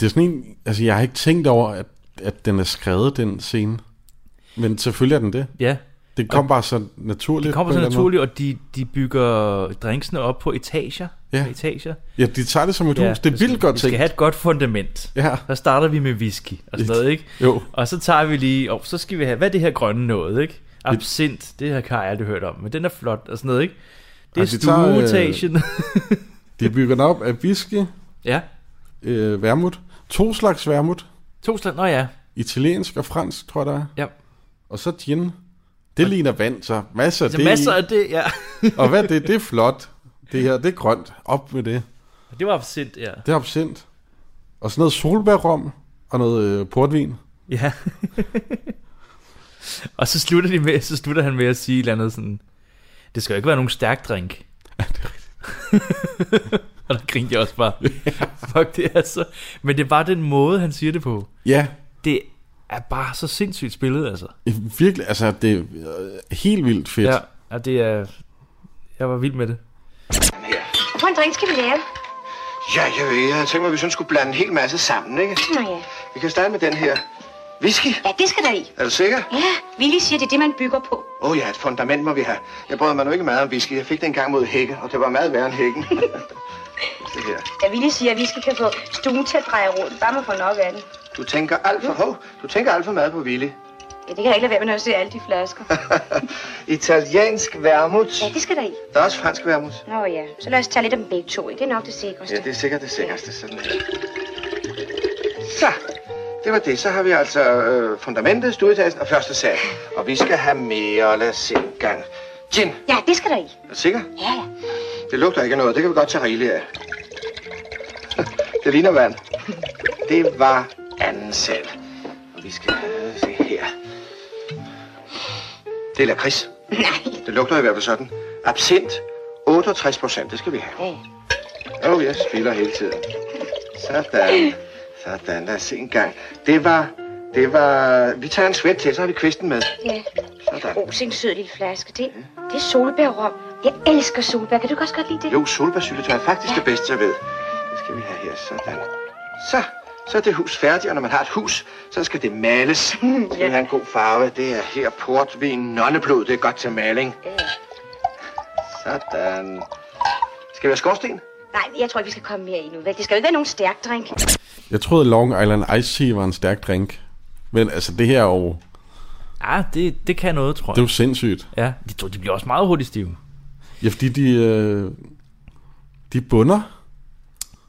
[SPEAKER 2] det er sådan en, altså jeg har ikke tænkt over, at, at den er skrevet, den scene. Men selvfølgelig er den det.
[SPEAKER 3] ja.
[SPEAKER 2] Det kom bare så naturligt.
[SPEAKER 3] Det kommer så
[SPEAKER 2] Øh, på en eller anden
[SPEAKER 3] naturligt, og de, de bygger drinksene op på etager.
[SPEAKER 2] Ja.
[SPEAKER 3] På etager.
[SPEAKER 2] måde. Ja, de tager det som et hus. Det
[SPEAKER 3] vi
[SPEAKER 2] er
[SPEAKER 3] skal-
[SPEAKER 2] vildt godt
[SPEAKER 3] Vi skal
[SPEAKER 2] tænkt.
[SPEAKER 3] have et godt fundament.
[SPEAKER 2] Ja.
[SPEAKER 3] Så starter vi med whisky og sådan noget, ikke?
[SPEAKER 2] Jo.
[SPEAKER 3] Og så tager vi lige, og så skal vi have, hvad er det her grønne noget, ikke? Absint, det her har jeg aldrig hørt om, men den er flot og sådan noget, ikke? Det er
[SPEAKER 2] Ej, de tager, øh,
[SPEAKER 3] stueetagen. (laughs)
[SPEAKER 2] De bygger den op af whisky,
[SPEAKER 3] ja,
[SPEAKER 2] øh, vermut. To slags vermut.
[SPEAKER 3] to slag, nå ja,
[SPEAKER 2] Italiensk og fransk, tror jeg der er.
[SPEAKER 3] ja.
[SPEAKER 2] Og så gin. Det ligner vand, så masser af
[SPEAKER 3] Så
[SPEAKER 2] det. i.
[SPEAKER 3] Altså, masser af det, ja.
[SPEAKER 2] Og hvad er det? Det er flot. Det her, det er grønt. Op med det.
[SPEAKER 3] Det var sind, ja.
[SPEAKER 2] Det er absint. Og sådan noget solbærrom og noget øh, portvin.
[SPEAKER 3] Ja. og så slutter, de med, så slutter han med at sige et eller andet sådan, det skal jo ikke være nogen stærk drink. (laughs) og der grinte jeg også bare. Fuck det altså. Men det er bare den måde, han siger det på.
[SPEAKER 2] Ja,
[SPEAKER 3] Det er bare så sindssygt spillet, altså.
[SPEAKER 2] virkelig. Altså, det er øh, helt vildt fedt.
[SPEAKER 3] Ja, og det er... Jeg var vild med det.
[SPEAKER 5] Hvad for en drink skal vi lave?
[SPEAKER 4] Ja, jeg ved, jeg havde tænkt mig, at vi sådan skulle blande en hel masse sammen, ikke?
[SPEAKER 5] Nå ja.
[SPEAKER 4] Vi kan starte med den her. Whisky,
[SPEAKER 5] Ja, det skal der i.
[SPEAKER 4] er du sikker?
[SPEAKER 5] Ja, Willy siger, det er det, man bygger på.
[SPEAKER 4] Åh oh, ja, et fundament må vi have. Jeg brød mig nu ikke meget om whisky. Jeg fik det engang mod hække, og det var meget værre end hækken. det her.
[SPEAKER 5] Da Willy siger, at vi skal kan få stuen til at dreje rundt, bare man får nok af den.
[SPEAKER 4] Du tænker alt for hov. Du tænker alt for meget på Willy.
[SPEAKER 5] Ja, det kan jeg ikke lade være med, når jeg ser alle de flasker.
[SPEAKER 4] (laughs) Italiensk vermouth.
[SPEAKER 5] Ja, det skal der i.
[SPEAKER 4] Der er også fransk vermouth.
[SPEAKER 5] Nå ja, så lad os tage lidt af dem begge to, ikke? Det er nok det sikreste.
[SPEAKER 4] Ja, det er sikkert det sikreste. Sådan her. Så, det var det. Så har vi altså øh, fundamentet, stueetagen og første sal. Og vi skal have mere. Lad os se en gang. Gin,
[SPEAKER 5] Ja, det skal der i.
[SPEAKER 4] er du sikker?
[SPEAKER 5] Ja, ja.
[SPEAKER 4] Det lugter ikke af noget. Det kan vi godt tage rigeligt af. Det ligner vand. Det var anden sal. Og vi skal øh, se her. Det er lakrids.
[SPEAKER 5] Nej.
[SPEAKER 4] Det lugter i hvert fald sådan. Absint. 68 procent. Det skal vi have.
[SPEAKER 5] Ja.
[SPEAKER 4] Oh, jeg spiller hele tiden. Sådan. Sådan. Lad os se en gang. Det var... Det var... Vi tager en svæt til, så har vi kvisten med.
[SPEAKER 5] Ja.
[SPEAKER 4] Sådan.
[SPEAKER 5] Oh, en sød lille flaske. Det, det er solbærrom. Jeg elsker solbær. Kan du ikke også godt lide det?
[SPEAKER 4] Jo, solbærsyltetøj er faktisk det bedste, jeg ved. Det skal vi have her, sådan. Så, så er det hus færdigt, og når man har et hus, så skal det males. Så skal vi have en god farve. Det er her portvin, nonneblod, det er godt til maling. Sådan. Skal vi have skorsten?
[SPEAKER 5] Nej, jeg tror ikke, vi skal komme mere endnu. Vel? Det skal jo ikke være nogen stærk drink.
[SPEAKER 2] Jeg troede, Long Island Ice Tea var en stærk drink. Men altså, det her er jo,
[SPEAKER 3] Ah, det, det kan noget, tror
[SPEAKER 2] det er jo
[SPEAKER 3] jeg.
[SPEAKER 2] sindssygt.
[SPEAKER 3] Ja, de, tror, de bliver også meget hurtigt stive.
[SPEAKER 2] Ja, fordi de, øh, de bunder.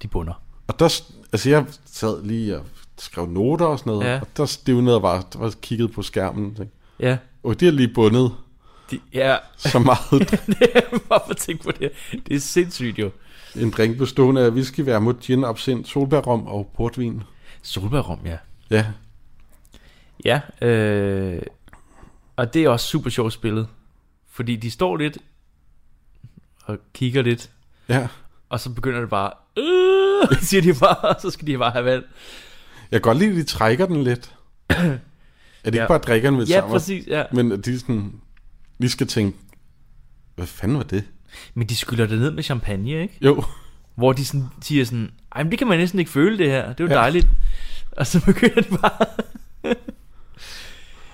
[SPEAKER 3] De bunder.
[SPEAKER 2] Og der, s- altså, jeg sad lige og skrev noter og sådan noget.
[SPEAKER 3] Ja.
[SPEAKER 2] Ja. Og der stivnede jeg bare, der var kigget på skærmen. Og tænkte,
[SPEAKER 3] Ja.
[SPEAKER 2] "Åh, de har lige bundet
[SPEAKER 3] De, ja, (laughs)
[SPEAKER 2] så (laughs) meget
[SPEAKER 3] hvorfor tænke på det? Det er sindssygt jo.
[SPEAKER 2] en drink bestående af whisky, vermouth, gin, absint, solbærrom og portvin.
[SPEAKER 3] Solbærrom, ja.
[SPEAKER 2] Ja,
[SPEAKER 3] Ja, øh, og det er også super sjovt spillet. Fordi de står lidt og kigger lidt,
[SPEAKER 2] ja.
[SPEAKER 3] og så begynder det bare, øh, (laughs) siger de bare, og så skal de bare have vand.
[SPEAKER 2] Jeg kan godt lide, at de trækker den lidt. Er det
[SPEAKER 3] Ja.
[SPEAKER 2] ikke bare at drikker den ved
[SPEAKER 3] Ja,
[SPEAKER 2] sammen?
[SPEAKER 3] præcis, ja.
[SPEAKER 2] Men at de sådan, lige skal tænke, hvad fanden var det?
[SPEAKER 3] Men de skyller det ned med champagne, ikke?
[SPEAKER 2] Jo,
[SPEAKER 3] Hvor de sådan, siger sådan, ej, men det kan man næsten ikke føle det her, det er jo ja. dejligt. Og så (laughs) begynder det bare,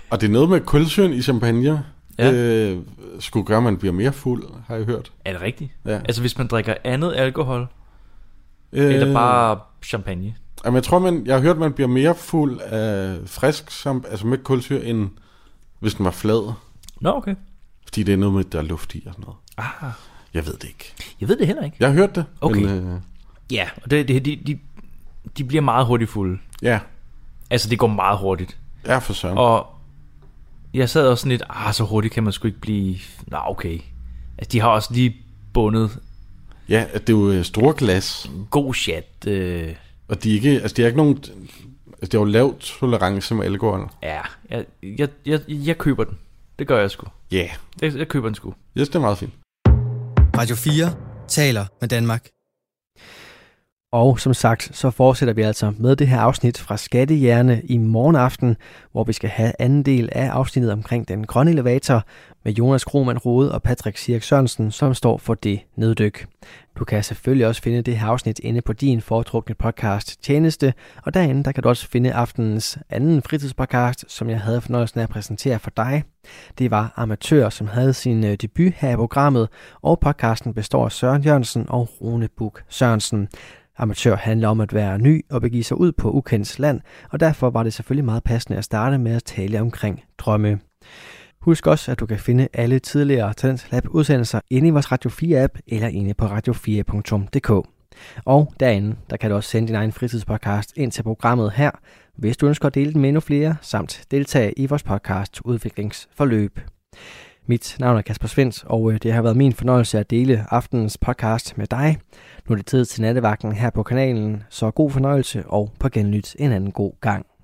[SPEAKER 2] og det er noget med kulsyren i champagne.
[SPEAKER 3] Ja.
[SPEAKER 2] Ja. Øh, skulle gøre, at man bliver mere fuld, har jeg hørt.
[SPEAKER 3] er det rigtigt?
[SPEAKER 2] Ja.
[SPEAKER 3] Altså hvis man drikker andet alkohol, øh.
[SPEAKER 2] Øh,
[SPEAKER 3] eller bare champagne.
[SPEAKER 2] Jamen, jeg tror, man, jeg har hørt, man bliver mere fuld af frisk, som, altså med kulsyre, end hvis den var flad.
[SPEAKER 3] Nå, okay.
[SPEAKER 2] Fordi det er noget med, der er luft i og sådan noget.
[SPEAKER 3] Ah,
[SPEAKER 2] Jeg ved det ikke.
[SPEAKER 3] jeg ved det heller ikke.
[SPEAKER 2] Jeg har hørt det.
[SPEAKER 3] Okay.
[SPEAKER 2] Men, øh,
[SPEAKER 3] Ja, og det, det, de, de, de bliver meget hurtigt fulde.
[SPEAKER 2] ja,
[SPEAKER 3] Altså det går meget hurtigt.
[SPEAKER 2] jeg er for søren.
[SPEAKER 3] Og jeg sad også sådan lidt, ah, så hurtigt kan man sgu ikke blive... Nå, okay. Altså, de har også lige bundet
[SPEAKER 2] Ja, at det er jo øh, store glas,
[SPEAKER 3] en god chat. Øh,
[SPEAKER 2] og de er ikke, altså de er ikke nogen, altså det er jo lav tolerance med alkohol.
[SPEAKER 3] ja, jeg, jeg, jeg, jeg køber den. Det gør jeg sgu.
[SPEAKER 2] Ja, yeah.
[SPEAKER 3] Jeg, jeg køber den sgu.
[SPEAKER 2] yes, det er meget fint.
[SPEAKER 1] Radio 4 taler med Danmark. Og som sagt, så fortsætter vi altså med det her afsnit fra Skattehjerne i morgen aften, hvor vi skal have anden del af afsnittet omkring den grønne elevator med Jonas Krohmann Rode og Patrick Sirk Sørensen, som står for det neddyk. Du kan selvfølgelig også finde det her afsnit inde på din foretrukne podcast Tjeneste, og derinde der kan du også finde aftenens anden fritidspodcast, som jeg havde fornøjelsen af at præsentere for dig. Det var Amatør, som havde sin øh, debut her i programmet, og podcasten består af Søren Jørgensen og Rune Buk Sørensen. Amatør handler om at være ny og begive sig ud på ukendt land, og derfor var det selvfølgelig meget passende at starte med at tale omkring drømme. Husk også, at du kan finde alle tidligere Talent Lab udsendelser inde i vores Radio 4-app eller inde på radio4.dk. Og derinde, der kan du også sende din egen fritidspodcast ind til programmet her, hvis du ønsker at dele den med endnu flere, samt deltage i vores podcast udviklingsforløb. Mit navn er Kasper Svens, og øh, det har været min fornøjelse at dele aftenens podcast med dig. Nu er det tid til nattevagten her på kanalen, så god fornøjelse og på genlyt en anden god gang.